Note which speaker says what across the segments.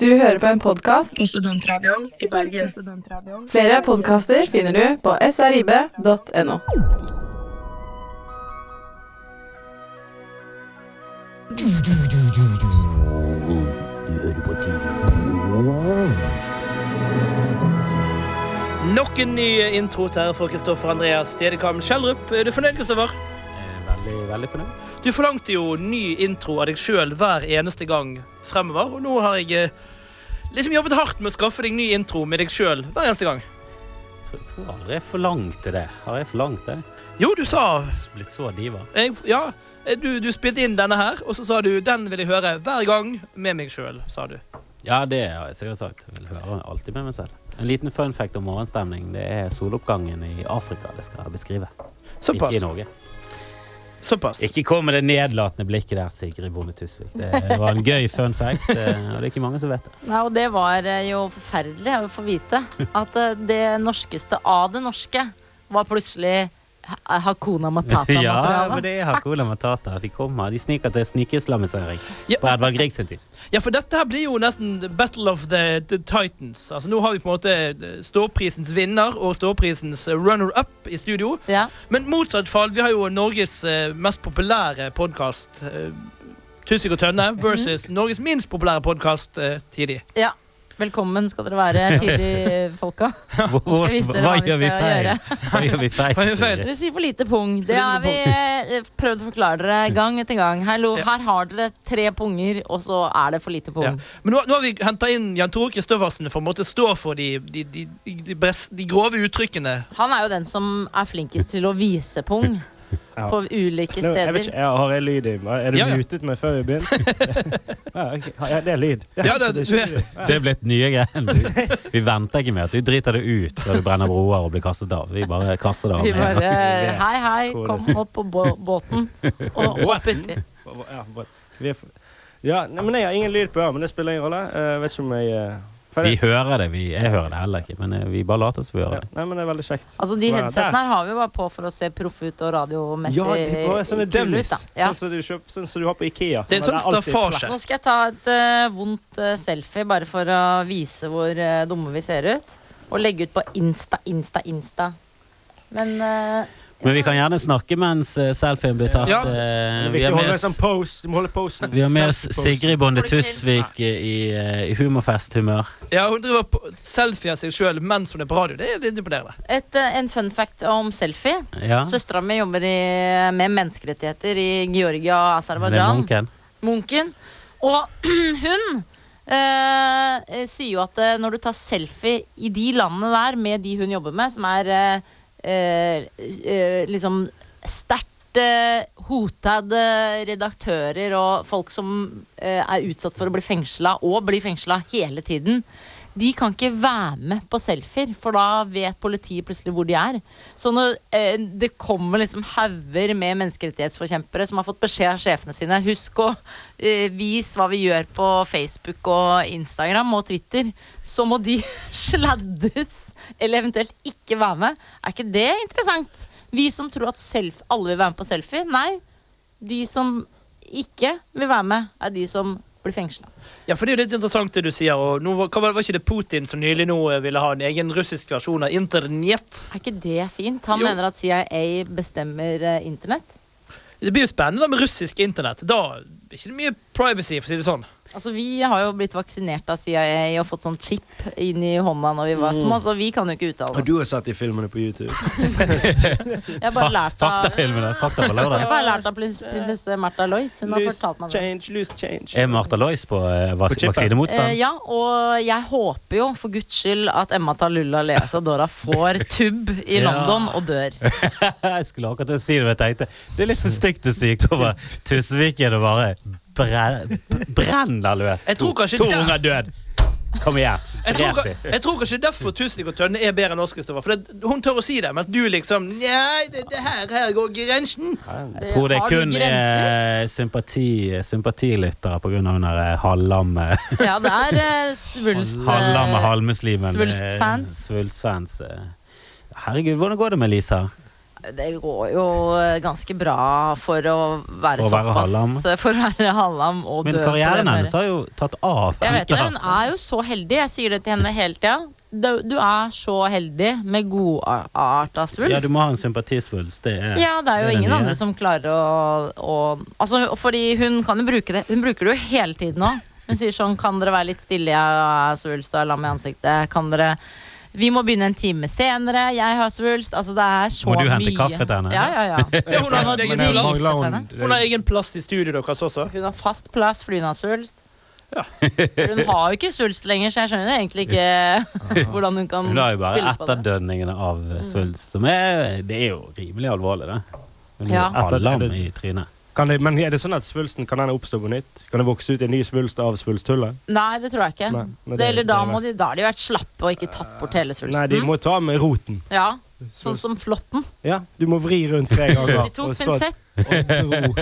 Speaker 1: Du hører på en podkast.
Speaker 2: på Studentradioen i Bergen.
Speaker 1: Flere podkaster finner du på srib.no.
Speaker 3: Nok en ny intro til for Kristoffer Andreas Stedekam Kjellrup. Er du fornøyd, Kristoffer?
Speaker 4: Eh, Veldig, veldig fornøyd.
Speaker 3: Du forlangte jo ny intro av deg sjøl hver eneste gang fremover, og nå har jeg eh, liksom jobbet hardt med å skaffe deg ny intro med deg sjøl hver eneste gang.
Speaker 4: Så jeg tror aldri jeg forlangte det. Har jeg forlangt det?
Speaker 3: Jo, du sa
Speaker 4: Blitt så diva.
Speaker 3: jeg, Ja, eh, du, du spilte inn denne her, og så sa du 'den vil jeg høre hver gang med meg sjøl', sa du.
Speaker 4: Ja, det har jeg sikkert sagt. Jeg vil høre alltid med meg selv. En liten fun fact om morgenstemning. Det er soloppgangen i Afrika det skal jeg beskrive.
Speaker 3: Såpass.
Speaker 4: Ikke i Norge.
Speaker 3: Såpass.
Speaker 4: Ikke kom med det nedlatende blikket der, Sigrid Bonde Tusvik. Det var en gøy fun fact, eh, og det er ikke mange som vet det.
Speaker 5: Nei, og det var eh, jo forferdelig å få vite at eh, det norskeste av det norske var plutselig Ha- Hakuna
Speaker 4: Ja, men
Speaker 5: Matata-materialet.
Speaker 4: det er Hakuna Matata. De kommer. De sniker til snikislamisering
Speaker 3: Ja.
Speaker 4: på Edvard Grieg sin tid.
Speaker 3: Ja, for dette her blir jo nesten the Battle of the, the Titans. Altså, Nå har vi på en måte eh, ståprisens vinner og ståprisens runner-up i studio.
Speaker 5: Ja.
Speaker 3: Men motsatt fall, vi har jo Norges eh, mest populære podkast, eh, Tusvik og Tønne, versus Norges minst populære podkast eh, tidlig.
Speaker 5: ja. Velkommen skal dere være, tidlig folka.
Speaker 4: Hvor-
Speaker 5: skal jeg vise dere
Speaker 4: Hva
Speaker 5: hva vi
Speaker 4: gjør vi
Speaker 5: skal
Speaker 4: feil?
Speaker 5: gjøre.
Speaker 4: Hva gjør vi feil?
Speaker 3: Hva gjør vi feil?
Speaker 4: Sigrid?
Speaker 5: Dere sier for lite pung. Det har vi eh, prøvd å forklare dere gang etter gang. Hallo,
Speaker 3: Ja.
Speaker 5: her har dere tre punger, og så er det for lite
Speaker 3: Ja.
Speaker 5: pung.
Speaker 3: Men nå, nå har vi henta inn Jan Tore Kristoffersen for å måtte stå for de, de, de, de, bres- de grove uttrykkene.
Speaker 5: Han er jo den som er flinkest til å vise pung
Speaker 6: Ja.
Speaker 5: på ulike
Speaker 6: Nå, jeg vet
Speaker 5: steder.
Speaker 6: ikke, jeg har jeg lyd i Er du
Speaker 3: Ja, ja.
Speaker 6: mutet meg før vi begynte? ja, ok. ja, det er lyd.
Speaker 3: Ja, det-
Speaker 6: så
Speaker 3: du-
Speaker 6: lyd.
Speaker 4: Det er blitt nye greier. Vi venter ikke med at du driter det ut før du brenner broer og blir kastet av. Vi bare kaster det av.
Speaker 5: Vi
Speaker 4: med en gang.
Speaker 5: bare eh, Hei, hei,
Speaker 6: Hvor
Speaker 5: kom
Speaker 6: det-
Speaker 5: opp på bå- båten og hopp uti.
Speaker 6: Ja, bare- vi er for- Ja, nei, men jeg har ingen lyd på øret, men det spiller ingen rolle. Jeg vet ikke om jeg eh, for
Speaker 4: Vi
Speaker 6: jeg-
Speaker 4: hører det. Vi, jeg hører det heller ikke, men eh, vi bare later som vi
Speaker 6: ja,
Speaker 4: hører det.
Speaker 6: Nei, men det er veldig kjekt.
Speaker 5: Altså, de
Speaker 6: Bare-
Speaker 5: headsetene
Speaker 6: Der.
Speaker 5: her har vi jo bare på for å se proffe ut og radiomessig
Speaker 6: Ja, det er bare sånne
Speaker 5: kule ut,
Speaker 6: dummies.
Speaker 5: da. Ja.
Speaker 6: Sånn som du, kjøper, sånn som du har på Ikea.
Speaker 3: Det er
Speaker 6: Men
Speaker 3: sånn
Speaker 6: alltid
Speaker 3: staffasje.
Speaker 5: Nå
Speaker 6: plast.
Speaker 5: skal jeg ta et eh, vondt eh, selfie bare for å vise hvor eh, dumme vi ser ut. Og legge ut på Insta, Insta, Insta. Men eh,
Speaker 4: Men vi kan gjerne snakke mens eh, selfien blir tatt.
Speaker 3: Ja.
Speaker 4: Eh,
Speaker 6: Det er
Speaker 4: Vi
Speaker 6: viktig
Speaker 4: har
Speaker 6: å
Speaker 4: med
Speaker 6: holde en
Speaker 4: oss,
Speaker 6: sånn pose. Du må holde posen. Sånn.
Speaker 4: vi har med oss
Speaker 6: Selfie-posen.
Speaker 4: Sigrid Bonde Tusvik eh, i, eh, i humorfesthumør.
Speaker 3: Ja, Hun driver på selfie av seg sjøl mens hun er på radio. Det er litt imponerende.
Speaker 5: et, eh, en fun fact om selfie.
Speaker 4: Ja.
Speaker 5: Søstera mi jobber i, med menneskerettigheter i Georgia og
Speaker 4: Det er
Speaker 5: Aserbajdsjan.
Speaker 4: munken.
Speaker 5: Munken. Og hun eh, eh, sier jo at eh, når du tar selfie i de landene der med de hun jobber med, som er eh, eh, eh, liksom sterkt eh, hotad eh, redaktører og folk som eh, er utsatt for å bli fengsla, og blir fengsla hele tiden. De kan ikke være med på selfier, for da vet politiet plutselig hvor de er. Så når eh, det kommer liksom hauger med menneskerettighetsforkjempere som har fått beskjed av sjefene sine Husk å eh, vise hva vi gjør på Facebook og Instagram og Twitter. Så må de sladdes, eller eventuelt ikke være med. Er ikke det interessant? Vi som tror at self alle vil være med på selfie. Nei, de som ikke vil være med, er de som blir fengsla.
Speaker 3: Ja, for Det er jo litt interessant det du sier. og nå var, hva var, var ikke det Putin som nylig nå eh, ville ha en egen russisk versjon av internett?
Speaker 5: Er ikke det fint? Han
Speaker 3: Jo.
Speaker 5: mener at CIA bestemmer eh, internett.
Speaker 3: Det blir jo spennende med russisk internett. Da er det ikke mye privacy, for å si det sånn.
Speaker 5: Altså, Vi har jo blitt vaksinert av CIA og fått sånn chip inn i hånda når vi var små, så vi kan jo ikke uttale
Speaker 6: Og
Speaker 5: oss.
Speaker 6: du har sett de filmene på YouTube.
Speaker 5: Jeg har
Speaker 4: Fa-
Speaker 5: bare lært av, jeg
Speaker 4: Faktafilmene. Fakta på lørdag.
Speaker 5: har bare lært av prins, prinsesse Märtha Lois. Hun har
Speaker 6: Loose
Speaker 5: fortalt meg det.
Speaker 6: change, loose change.
Speaker 4: Er Martha Lois på eh, vak-
Speaker 6: På chippet.
Speaker 5: Eh,
Speaker 4: vaksinemotstand?
Speaker 5: ja, og jeg håper jo for guds skyld at Emma Tallulah Lea Sadora får tubb i
Speaker 3: Ja.
Speaker 5: London og dør.
Speaker 4: Jeg skulle akkurat til å si det, men jeg tenkte det er litt for stygt å si over Tusviken og bare bre brenner løs.
Speaker 3: Jeg tror
Speaker 4: To-
Speaker 3: kanskje
Speaker 4: to
Speaker 3: det-
Speaker 4: unger død. Kom igjen.
Speaker 3: Jeg tror,
Speaker 4: Drep de.
Speaker 3: jeg tror kanskje derfor Tusvik og Tønne er bedre enn oss, Kristoffer. For det, hun tør å si det, mens du liksom Nei, det, det her, her går grensen.
Speaker 4: Jeg tror det
Speaker 5: Har du
Speaker 4: kun
Speaker 5: grenser?
Speaker 4: er sympati, sympatilyttere pga. hun der eh, halvlamme
Speaker 5: Ja, det er eh, svulst. eh,
Speaker 4: halvlamme halvmuslimen. eh,
Speaker 5: svulstfans.
Speaker 4: Svulstfans. eh. Herregud, hvordan går det med Lisa?
Speaker 5: det går jo eh, ganske bra for å være
Speaker 4: For å være
Speaker 5: såpass
Speaker 4: hallam.
Speaker 5: For å være hallam og
Speaker 4: Men
Speaker 5: dø på
Speaker 4: karrieren
Speaker 5: den der.
Speaker 4: hennes har jo tatt av.
Speaker 5: Jeg vet det, Hun
Speaker 4: altså.
Speaker 5: er jo så heldig. Jeg sier det til henne hele tida. Du, du er så heldig med godarta svulst.
Speaker 4: Ja, du må ha en sympatisvulst. Det er
Speaker 5: Ja, det er jo
Speaker 4: det
Speaker 5: ingen
Speaker 4: nye.
Speaker 5: andre som klarer å, å Altså, fordi hun kan jo bruke det Hun bruker det jo hele tiden nå. Hun sier sånn Kan dere være litt stille? Jeg har svulst og er lam i ansiktet. Kan dere Vi må begynne en time senere. Jeg har svulst. Altså, det er så
Speaker 4: Må
Speaker 5: mye.
Speaker 4: du hente kaffe til henne?
Speaker 5: Ja, ja, ja.
Speaker 3: Ja, hun, har sin
Speaker 5: Men
Speaker 3: egen
Speaker 5: jeg
Speaker 3: plass.
Speaker 5: mangler-
Speaker 3: hun har egen plass i studioet deres også.
Speaker 5: Hun har fast plass fordi hun har svulst. For hun har jo ikke svulst lenger, så jeg skjønner egentlig ikke hvordan hun kan
Speaker 4: Hun har jo bare
Speaker 5: spille Mm. på Mm. det.
Speaker 4: etterdønningene av svulst, som er Det er jo rimelig alvorlig, det. Hun
Speaker 5: Ja.
Speaker 4: er allam i trynet.
Speaker 6: Kan det, men er det sånn at svulsten kan den oppstå på nytt? Kan det vokse ut en ny svulst av svulsthullet?
Speaker 5: Nei, det tror jeg ikke.
Speaker 6: Nei, men det-
Speaker 5: det, eller da,
Speaker 6: det er
Speaker 5: må de, da har de vært slappe og ikke tatt bort hele svulsten.
Speaker 6: Nei, de må ta med roten.
Speaker 5: Ja, Sånn som flåtten.
Speaker 6: Ja, du må vri rundt tre ganger.
Speaker 5: De tok
Speaker 6: og så-
Speaker 5: pinsett.
Speaker 6: og dro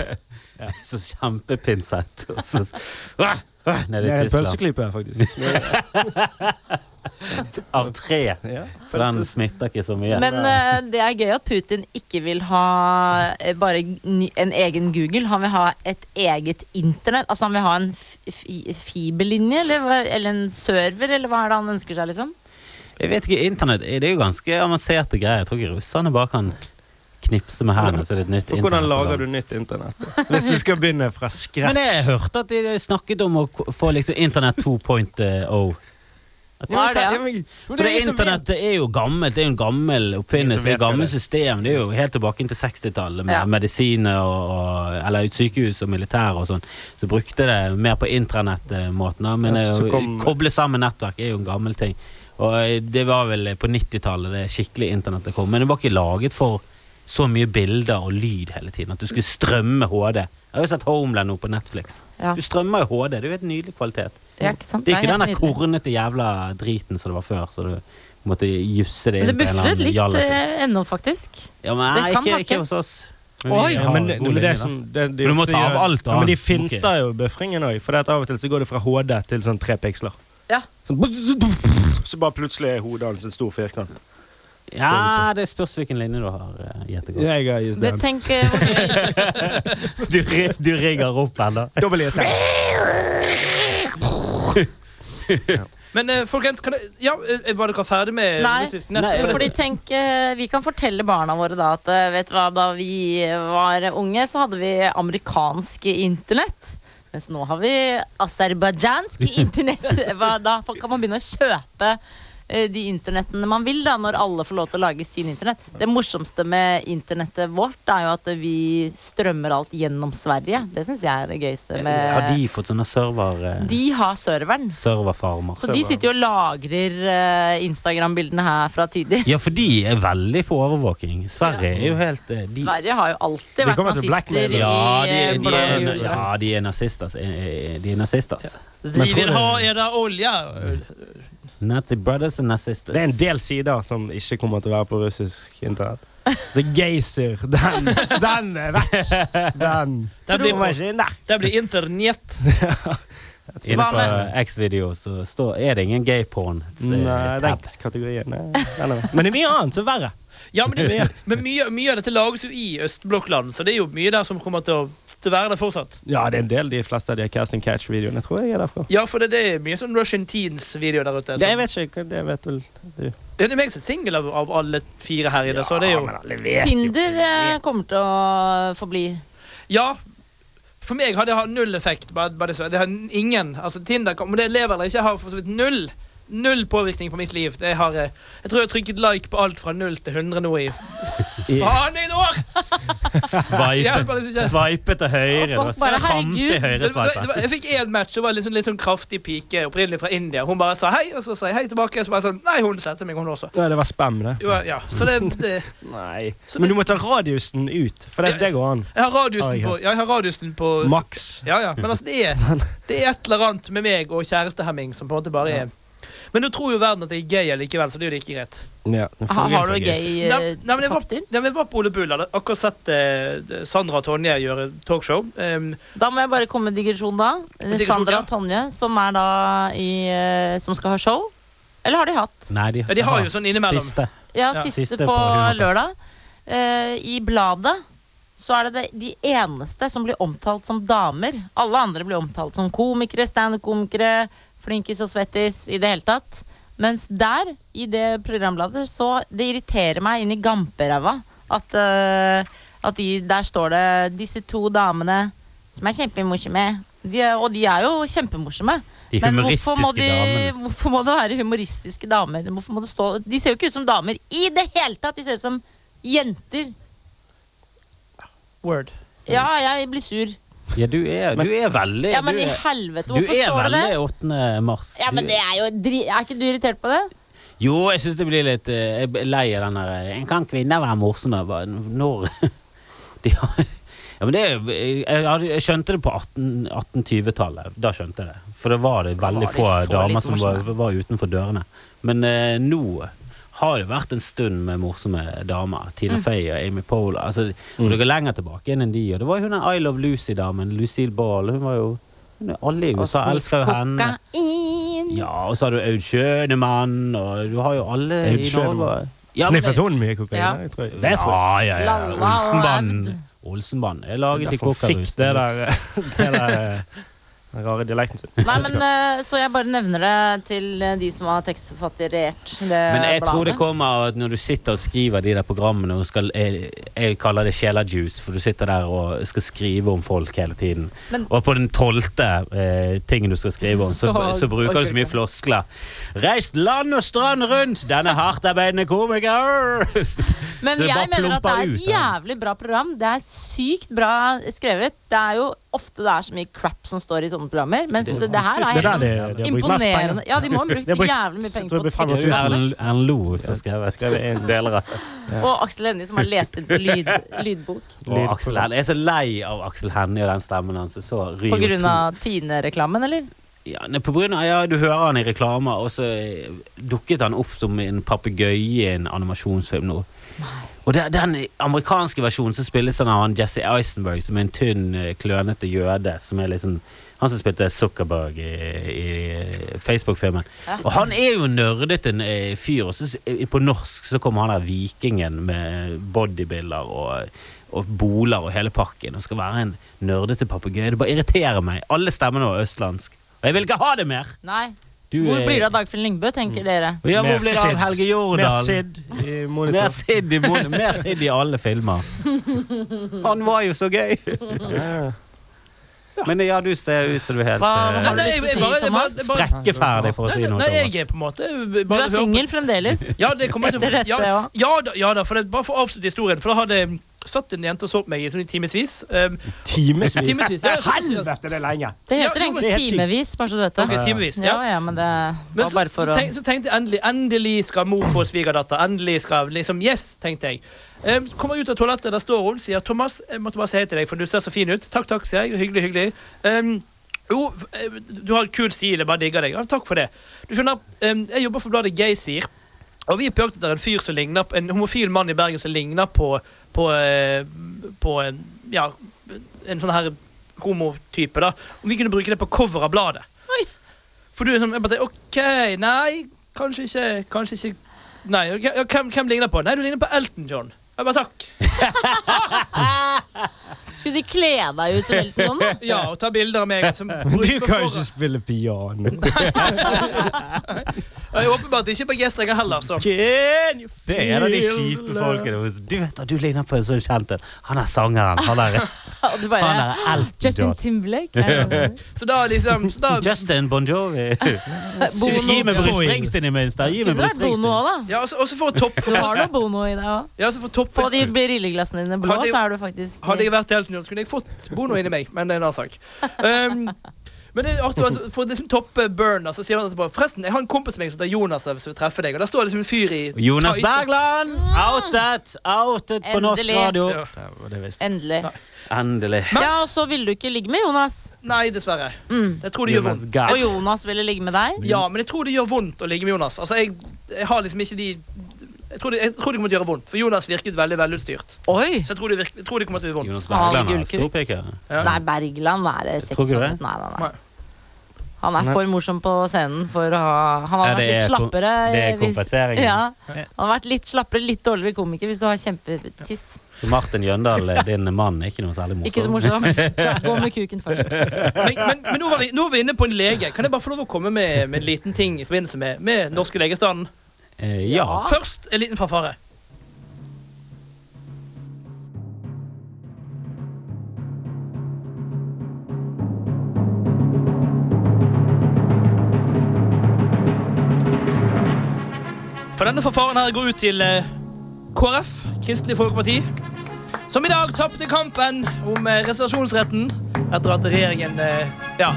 Speaker 4: Så kjempepinsett. Og så Hva? Hva?
Speaker 6: Det
Speaker 4: nede
Speaker 6: er
Speaker 4: i
Speaker 6: en
Speaker 4: Tyskland.
Speaker 6: pølseklype her, faktisk.
Speaker 4: Av tre.
Speaker 6: Ja,
Speaker 4: For den smitter ikke så mye.
Speaker 5: Men eh, det er gøy at Putin ikke vil ha eh, bare ny- en egen Google. Han vil ha et eget internett. Altså han vil ha en f fi- fiberlinje, eller, hva- eller en server, eller hva er det han ønsker seg, liksom?
Speaker 4: Jeg vet ikke, internett det er jo ganske avanserte greier. Jeg tror ikke russerne bare kan knipse med hendene. Så det er et nytt
Speaker 6: For hvordan
Speaker 4: internett.
Speaker 6: lager du nytt internett? Hvis du skal begynne fra
Speaker 4: Men
Speaker 6: scratch.
Speaker 4: jeg hørte at de snakket om å k- få liksom internett 2.0. At
Speaker 5: Hva er det?
Speaker 6: Ja, men-
Speaker 4: For det
Speaker 6: ingen som vet.
Speaker 4: internett er jo gammelt, det er jo en gammel
Speaker 6: Ingen
Speaker 4: oppfinnelse,
Speaker 6: som
Speaker 4: det er
Speaker 6: vet
Speaker 4: et gammelt
Speaker 6: hva det er.
Speaker 4: system. Det er jo helt tilbake inn til 60-tallet med
Speaker 5: Ja.
Speaker 4: medisiner og, og eller sykehus og militær og sånn. Så brukte det mer på intranettmåten, da, men
Speaker 6: Ja, så
Speaker 4: å
Speaker 6: kom-
Speaker 4: koble sammen nettverk er jo en gammel ting. Og eh, det var vel på 90-tallet det skikkelige internettet kom, men det var ikke laget for så mye bilder og lyd hele tiden, at du skulle strømme HD. Jeg har jo sett Homeland nå på Netflix.
Speaker 5: Ja.
Speaker 4: Du strømmer jo HD, det er jo helt nydelig kvalitet.
Speaker 5: Ja, ikke sant?
Speaker 4: Det er
Speaker 5: Det er
Speaker 4: ikke den der
Speaker 5: helt nydelig.
Speaker 4: kornete jævla driten som det var før, så du måtte jusse det inn på en eller
Speaker 5: Men det buffer
Speaker 4: annen
Speaker 5: litt
Speaker 4: jalla sin.
Speaker 5: eh, ennå, faktisk.
Speaker 4: Ja, men
Speaker 5: det
Speaker 4: nei,
Speaker 5: kan
Speaker 4: ikke,
Speaker 5: hakke.
Speaker 4: ikke hos oss. Men
Speaker 5: Oi.
Speaker 4: vi
Speaker 6: Ja,
Speaker 4: har
Speaker 6: men,
Speaker 4: god
Speaker 6: men det
Speaker 4: linje,
Speaker 6: er
Speaker 4: da.
Speaker 6: som, det, det
Speaker 4: Men du må
Speaker 6: ofte
Speaker 4: ta av
Speaker 6: gjør-
Speaker 4: alt
Speaker 6: ja, men De
Speaker 4: annet.
Speaker 6: finter jo bøfringen òg, for det at av og til så går det fra HD til sånn tre piksler.
Speaker 5: Ja.
Speaker 6: Sånn, så bare plutselig er hodet hans en stor firkant.
Speaker 4: Ja, det spørs hvilken linje du har, eh, Gjetegård.
Speaker 6: Jeg er i
Speaker 5: Det,
Speaker 6: stedet.
Speaker 5: tenk eh, hvor gøy.
Speaker 4: Du, ri- du rigger opp ennå.
Speaker 6: Dobbel ISD.
Speaker 3: Men eh, folkens, kan jeg, ja, eh, var dere ferdig med
Speaker 5: Nei,
Speaker 3: russisk nett?
Speaker 5: Nei,
Speaker 3: For det-
Speaker 5: fordi tenk, eh, vi kan fortelle barna våre da at eh, vet du hva, da vi var unge, så hadde vi amerikansk internett. Mens nå har vi aserbajdsjansk internett. Hva, da kan man begynne å kjøpe eh, de internettene man vil, da, når alle får lov til å lage sin internett. Det morsomste med internettet vårt er jo at vi strømmer alt gjennom Sverige. Det syns jeg er det gøyeste
Speaker 4: Eh, Har
Speaker 5: med
Speaker 4: de fått sånne server... eh,
Speaker 5: eh, De har serveren.
Speaker 4: Serverfarmer.
Speaker 5: Så de sitter jo og lagrer eh, Instagram-bildene her fra tidlig.
Speaker 4: Ja, for de er veldig på overvåking. Sverige er jo helt eh, de,
Speaker 5: Sverige har jo alltid
Speaker 6: De
Speaker 5: vært
Speaker 6: kommer til
Speaker 5: nazister
Speaker 6: blackmail
Speaker 5: i
Speaker 6: oss.
Speaker 4: ja, de,
Speaker 5: eh,
Speaker 4: de, er,
Speaker 5: blå-
Speaker 4: ja, de er nazistas. eh, eh, De er nazistas.
Speaker 3: Vi
Speaker 6: tror
Speaker 3: vil
Speaker 6: det-
Speaker 3: ha edda olje.
Speaker 4: Nazi brothers and nazistas.
Speaker 6: Det er en del sider som ikke kommer til å være på russisk internett. The Gazer. Den, den er vekk! Den.
Speaker 3: Den blir
Speaker 6: Tror
Speaker 3: på.
Speaker 6: jeg ikke inn der.
Speaker 3: Det blir internett.
Speaker 4: Inne
Speaker 5: Hva med-
Speaker 4: på X-video så står, er det ingen gay porn. eh,
Speaker 6: Nei, den
Speaker 4: tab.
Speaker 6: kategorien nei, den er vekk. Men det er mye annet som er verre.
Speaker 3: Ja, men, det, men mye, mye av dette lages jo i østblokkland, så det er jo mye der som kommer til å, til å være der fortsatt.
Speaker 6: Ja, det er en del de fleste av de Cast and Catch-videoene tror jeg er derfra. Altså-
Speaker 3: Ja, for det, det er mye sånn Russian Teens-videoer der ute.
Speaker 6: Det
Speaker 3: så-
Speaker 6: vet ikke, det vet vel du.
Speaker 3: Det er meg som er singel av, av alle fire her inne, så det er jo
Speaker 5: Tinder eh, kommer til å forbli
Speaker 3: Ja. For meg har det hatt null effekt. Bare, bare det, så. det har ingen, altså Tinder, Om det lever eller ikke, har for så vidt null Null påvirkning på mitt liv. Det har, eh, jeg tror jeg har trykket like på alt fra null til 100 nå i Faen, i et år! Hjelper liksom
Speaker 4: Sveipet,
Speaker 3: ikke.
Speaker 4: sveipet til høyre.
Speaker 5: Og folk
Speaker 4: det var
Speaker 5: bare,
Speaker 4: samtlige
Speaker 5: herregud.
Speaker 4: høyre
Speaker 3: Det, det, det, var-
Speaker 4: sveipet.
Speaker 3: jeg fikk én match, og var liksom litt sånn kraftig pike opprinnelig fra India. Hun bare sa hei, og så sa jeg hei tilbake. Og så bare sånn Nei, hun setter meg, hun også.
Speaker 6: Ja, det var spam, det.
Speaker 3: Jo, ja, så det, det
Speaker 6: Nei.
Speaker 3: Så
Speaker 6: Men
Speaker 3: det-
Speaker 6: du må ta radiusen ut, for det, det går an.
Speaker 3: Jeg har radiusen
Speaker 6: Oi,
Speaker 3: på, ja, jeg har radiusen på
Speaker 6: Maks.
Speaker 3: Ja, ja. Men altså, det er, det er et eller annet med meg og kjærestehemming som på en måte bare er Men nå tror jo verden at jeg er gay allikevel, så det er jo like greit.
Speaker 6: Ja, det
Speaker 5: ha,
Speaker 6: fungerer
Speaker 5: Har du
Speaker 6: faktisk.
Speaker 5: gøy
Speaker 3: Nei,
Speaker 5: eh,
Speaker 3: nei, men jeg var,
Speaker 5: fakter?
Speaker 3: nei, men jeg var på Ole Bull. Hadde akkurat sett eh, Sandra og Tonje gjøre talkshow. Ehm, Em,
Speaker 5: Da må jeg bare komme med digresjon, da. Eh,
Speaker 3: Digresjon,
Speaker 5: Sandra
Speaker 3: ja.
Speaker 5: og Tonje, som, er da i, eh, som skal ha show. Eller har de hatt?
Speaker 4: Nei, de,
Speaker 3: Ja, de har jo sånn innimellom.
Speaker 4: Siste.
Speaker 3: Ja,
Speaker 5: Ja, siste,
Speaker 4: siste
Speaker 5: på,
Speaker 4: på Humorfest.
Speaker 5: lørdag. eh, i bladet så er det det- de eneste som blir omtalt som damer. Alle andre blir omtalt som komikere, standup-komikere, flinkis og svettis i det hele tatt. Mens der, i det programbladet, så det irriterer meg inn i gamperæva at, eh, at de, der står det disse to damene som er kjempemorsomme. De er, og de er jo kjempemorsomme.
Speaker 4: De
Speaker 5: Men
Speaker 4: humoristiske
Speaker 5: hvorfor må, de,
Speaker 4: damene.
Speaker 5: hvorfor må det være humoristiske damer? Hvorfor må det stå De ser jo ikke ut som damer i det hele tatt! De ser ut som jenter.
Speaker 3: Word.
Speaker 5: Ja, jeg blir sur.
Speaker 4: Ja, du er, du er veldig
Speaker 5: Ja, men
Speaker 4: du
Speaker 5: i
Speaker 4: er,
Speaker 5: helvete,
Speaker 4: du
Speaker 5: hvorfor
Speaker 4: er
Speaker 5: står det
Speaker 4: veldig
Speaker 5: det?
Speaker 4: 8. mars.
Speaker 5: Ja, men
Speaker 4: Du-
Speaker 5: det er jo dri... Er ikke du irritert på det?
Speaker 4: Jo, jeg syns det blir litt eh, Jeg er lei av den der eh, Kan kvinner være morsomme? Hva- Når De har Ja, men det er jo- jeg, jeg, hadde- jeg skjønte det på 18 1820-tallet. Da skjønte jeg det. For da var det veldig
Speaker 5: var de
Speaker 4: få
Speaker 5: så
Speaker 4: damer
Speaker 5: litt
Speaker 4: som var,
Speaker 5: morsomme.
Speaker 4: var utenfor dørene. Men eh, nå har det vært en stund med morsomme damer. Tina
Speaker 5: Mm.
Speaker 4: Fey og Amy Poehler. Altså, og Det går lenger tilbake igjen enn de. Og det var jo hun der I Love Lucy-damen. Lucille Ball. Hun var jo hun, Alle i USA elsker jo henne.
Speaker 5: Kokain.
Speaker 4: Ja, og så har du Aud Schønemann, og du har jo alle
Speaker 6: Aud
Speaker 4: i Norge.
Speaker 6: Schønemann.
Speaker 4: Ja, men-
Speaker 6: Sniffet hun mye kokain?
Speaker 5: Ja.
Speaker 6: da? Jeg tror-
Speaker 4: Ja, ja, ja.
Speaker 5: Lalla og Aud.
Speaker 4: Olsenbanden. Olsenbanden er laget i
Speaker 6: Derfor fikk
Speaker 4: kokkerus.
Speaker 6: det der, det der eh, den rare dialekten sin.
Speaker 5: Nei, men eh, Så jeg bare nevner det til eh, de som har tekstforfatterert det
Speaker 4: Men jeg
Speaker 5: bladet.
Speaker 4: tror det kommer at når du sitter og skriver de der programmene og skal, jeg, jeg kaller det sjelajuice, for du sitter der og skal skrive om folk hele tiden.
Speaker 5: Men-
Speaker 4: og på den tolvte eh, tingen du skal skrive om, så,
Speaker 5: Så-
Speaker 4: så, bruker du så mye
Speaker 5: orker du ikke.
Speaker 4: floskler. Reist land og strand rundt, denne hardtarbeidende komiker!
Speaker 5: Men
Speaker 4: så det
Speaker 5: jeg
Speaker 4: bare
Speaker 5: mener at det
Speaker 4: plumper
Speaker 5: er
Speaker 4: ut,
Speaker 5: et
Speaker 4: ja.
Speaker 5: jævlig bra program. Det er sykt bra skrevet. Det er jo ofte det er så mye crap som står i sånne programmer. Mens det, det her
Speaker 6: Det
Speaker 5: er
Speaker 6: er der
Speaker 5: helt
Speaker 6: de,
Speaker 5: sånn
Speaker 6: de har brukt mest penger.
Speaker 5: imponerende. Ja, de må ha brukt
Speaker 6: De har brukt-
Speaker 5: jævlig mye
Speaker 6: jeg tror
Speaker 5: penger på
Speaker 6: det blir fem
Speaker 4: Det er
Speaker 5: tekst.
Speaker 4: jo
Speaker 6: tusen.
Speaker 4: Erlend Erlend Lo som skrev
Speaker 6: Skrev en
Speaker 4: deler av
Speaker 5: Og Aksel Hennie som har lest inn lyd, lydbok.
Speaker 4: Og Aksel Hennie. Jeg er så lei av Aksel Hennie og den stemmen hans. Så
Speaker 5: På
Speaker 4: Rio
Speaker 5: grunn
Speaker 4: 2.
Speaker 5: av Tine-reklamen, eller?
Speaker 4: Ja, nei, på grunn av, ja, du hører han i reklamer, og så eh, dukket han opp som en papegøye i en animasjonsfilm nå. Og det, den amerikanske versjonen så spilles han av han Jesse Eisenberg, som er en tynn, eh, klønete jøde. Som er litt sånn, han som spilte Zuckerberg i, i Facebook-filmen. Og han er jo nerdete en, eh, fyr. Og så, s- eh, på norsk så kommer han der vikingen med bodybuilder og, og boler og hele pakken og skal være en nerdete papegøye. Det bare irriterer meg. Alle stemmene var østlandsk. Og jeg vil ikke ha det mer!
Speaker 5: Nei.
Speaker 4: Du eh,
Speaker 5: Hvor
Speaker 4: er-
Speaker 5: blir det av Dagfinn Lyngbø, tenker dere?
Speaker 4: Ja,
Speaker 6: Mer
Speaker 4: hvor blir det av
Speaker 6: Sid.
Speaker 4: Helge
Speaker 6: Mer
Speaker 4: Jordal?
Speaker 6: Sid i
Speaker 4: Mer
Speaker 6: monitor.
Speaker 4: Sid i, mon- mer Sid i alle filmer. Han var jo så gøy!
Speaker 6: Ja.
Speaker 4: Men ja, du ser ut som du er helt
Speaker 5: Hva- hva
Speaker 4: eh,
Speaker 5: har du lyst
Speaker 3: jeg-
Speaker 5: til å
Speaker 3: jeg
Speaker 5: si,
Speaker 3: bare- jeg bare-
Speaker 5: Thomas?
Speaker 3: jeg bare-
Speaker 4: Sprekkeferdig, for å si
Speaker 3: Nei,
Speaker 4: noe.
Speaker 3: nei,
Speaker 4: Thomas.
Speaker 3: jeg er på en måte
Speaker 5: Du
Speaker 3: bare
Speaker 5: er
Speaker 3: hør på-
Speaker 5: singel fremdeles?
Speaker 3: Ja, det kommer jeg til
Speaker 5: Etter dette,
Speaker 3: ja,
Speaker 5: ja.
Speaker 3: ja, da, ja da, for det, bare for å avslutte historien. For da hadde jeg satt en jente og så på meg i sånn i timevis. Um,
Speaker 6: Timevis.
Speaker 3: timevis. Ja,
Speaker 6: Helvete, det er lenge!
Speaker 5: Det
Speaker 3: Ja,
Speaker 5: heter
Speaker 3: jo, men-
Speaker 5: egentlig timevis, bare så du vet
Speaker 3: Ok,
Speaker 5: det.
Speaker 3: timevis,
Speaker 5: Ja,
Speaker 3: ja.
Speaker 5: ja, men det
Speaker 3: Men
Speaker 5: var
Speaker 3: så,
Speaker 5: bare
Speaker 3: så,
Speaker 5: for å
Speaker 3: tenk, så tenkte jeg endelig Endelig skal mor få svigerdatter. Endelig skal liksom, Yes, tenkte jeg. Um, så kommer jeg ut av toalettet, der står hun, sier Thomas, jeg måtte bare si hei til deg, for du ser så fin ut. Takk, takk, sier jeg. Hyggelig, hyggelig. Um, jo, f- eh, du har kul stil, jeg bare digger deg. Ja, takk for det. Du skjønner, um, jeg jobber for bladet Geysir, og vi er på jakt etter en fyr som ligner En homofil mann i Bergen som ligner på På, eh, på en, ja, en sånn her homotype, da. Om vi kunne bruke det på cover av bladet.
Speaker 5: Oi.
Speaker 3: For du er sånn jeg bare, OK, nei, kanskje ikke Kanskje ikke Nei, ok, ja, hvem, hvem ligner på? Nei, du ligner på Elton John. Jeg bare takk.
Speaker 5: Skulle de kle deg ut som Elton John? da?
Speaker 3: Ja, og ta bilder av meg. Som,
Speaker 6: Du kan jo ikke spille piano.
Speaker 3: Og jeg er Åpenbart ikke på G-streker heller, så.
Speaker 4: Det er en av de kjipe folkene. Du vet at du ligner på en sånn kjent en. Han er sangeren. Han er,
Speaker 5: Og du
Speaker 4: han
Speaker 5: bare
Speaker 4: er Elton
Speaker 5: Justin
Speaker 4: John.
Speaker 5: Timberlake? er det-
Speaker 3: Så da liksom så da,
Speaker 4: Justin Bon Jovi.
Speaker 5: Bono.
Speaker 4: Gi meg Bruce
Speaker 6: Boing.
Speaker 4: Springsteen i minste. Gi
Speaker 5: Kunne
Speaker 4: meg Bruce
Speaker 5: vært Bono
Speaker 4: Springsteen.
Speaker 5: òg, da.
Speaker 3: ja, også, også for å toppe
Speaker 5: Du har noe Bono i deg òg.
Speaker 3: ja, også for å toppe-
Speaker 5: Få de brilleglassene dine blå,
Speaker 3: Hadde-
Speaker 5: så er du faktisk
Speaker 3: Hadde jeg vært i Elton John, så kunne jeg fått Bono inni meg, men det er en annen sak. Um, men det er artig, altså, for å liksom toppe Burn, så sier han etterpå Forresten, jeg har en kompis med meg som heter Jonas, som vil treffe deg, og der står liksom en fyr i
Speaker 4: Jonas
Speaker 3: tights-
Speaker 4: Bergland! Outet! Outet på norsk
Speaker 5: Endelig.
Speaker 4: radio.
Speaker 3: Ja.
Speaker 5: Endelig.
Speaker 4: Endelig.
Speaker 5: Ja, og så ville du ikke ligge med Jonas.
Speaker 3: Nei, dessverre. Jeg tror det gjør
Speaker 4: Jonas
Speaker 3: vondt.
Speaker 4: Gahr.
Speaker 5: Og Jonas ville ligge med deg.
Speaker 3: Ja, men jeg tror det gjør vondt å ligge med Jonas. Altså, jeg, jeg har liksom ikke de jeg tror, det, jeg tror det kommer til å gjøre vondt, for Jonas virket veldig velutstyrt.
Speaker 5: Oi!
Speaker 3: Så jeg tror det, virk, jeg tror det kommer til å gjøre vondt.
Speaker 4: Jonas Bergland
Speaker 5: Ah,
Speaker 4: har
Speaker 5: gullkuk.
Speaker 4: storpiker.
Speaker 3: Ja.
Speaker 5: Nei, Bergland er
Speaker 4: Tror ikke
Speaker 5: sexy.
Speaker 4: det.
Speaker 5: Nei, nei, nei. Han er for morsom på scenen for å ha Han
Speaker 4: Ja,
Speaker 5: har vært
Speaker 4: det
Speaker 5: litt
Speaker 4: er kom-
Speaker 5: slappere.
Speaker 4: det er
Speaker 5: hvis-
Speaker 4: kompenseringen.
Speaker 5: Ja, han har vært litt slappere, litt dårligere komiker hvis du har kjempetiss.
Speaker 4: Så Martin Jøndal, eh, din mann, er ikke noe særlig morsom.
Speaker 5: Ikke så morsom. Gå med kuken først.
Speaker 3: Men, men, men nå, var vi, nå er vi inne på en lege. Kan jeg bare få lov å komme med, med en liten ting i forbindelse med, med norske legestanden?
Speaker 4: Eh, ja.
Speaker 3: Først en liten fanfare. For denne fanfaren her går ut til eh, KrF, Kristelig Folkeparti, som i dag tapte kampen om eh, reservasjonsretten etter at regjeringen eh, Ja.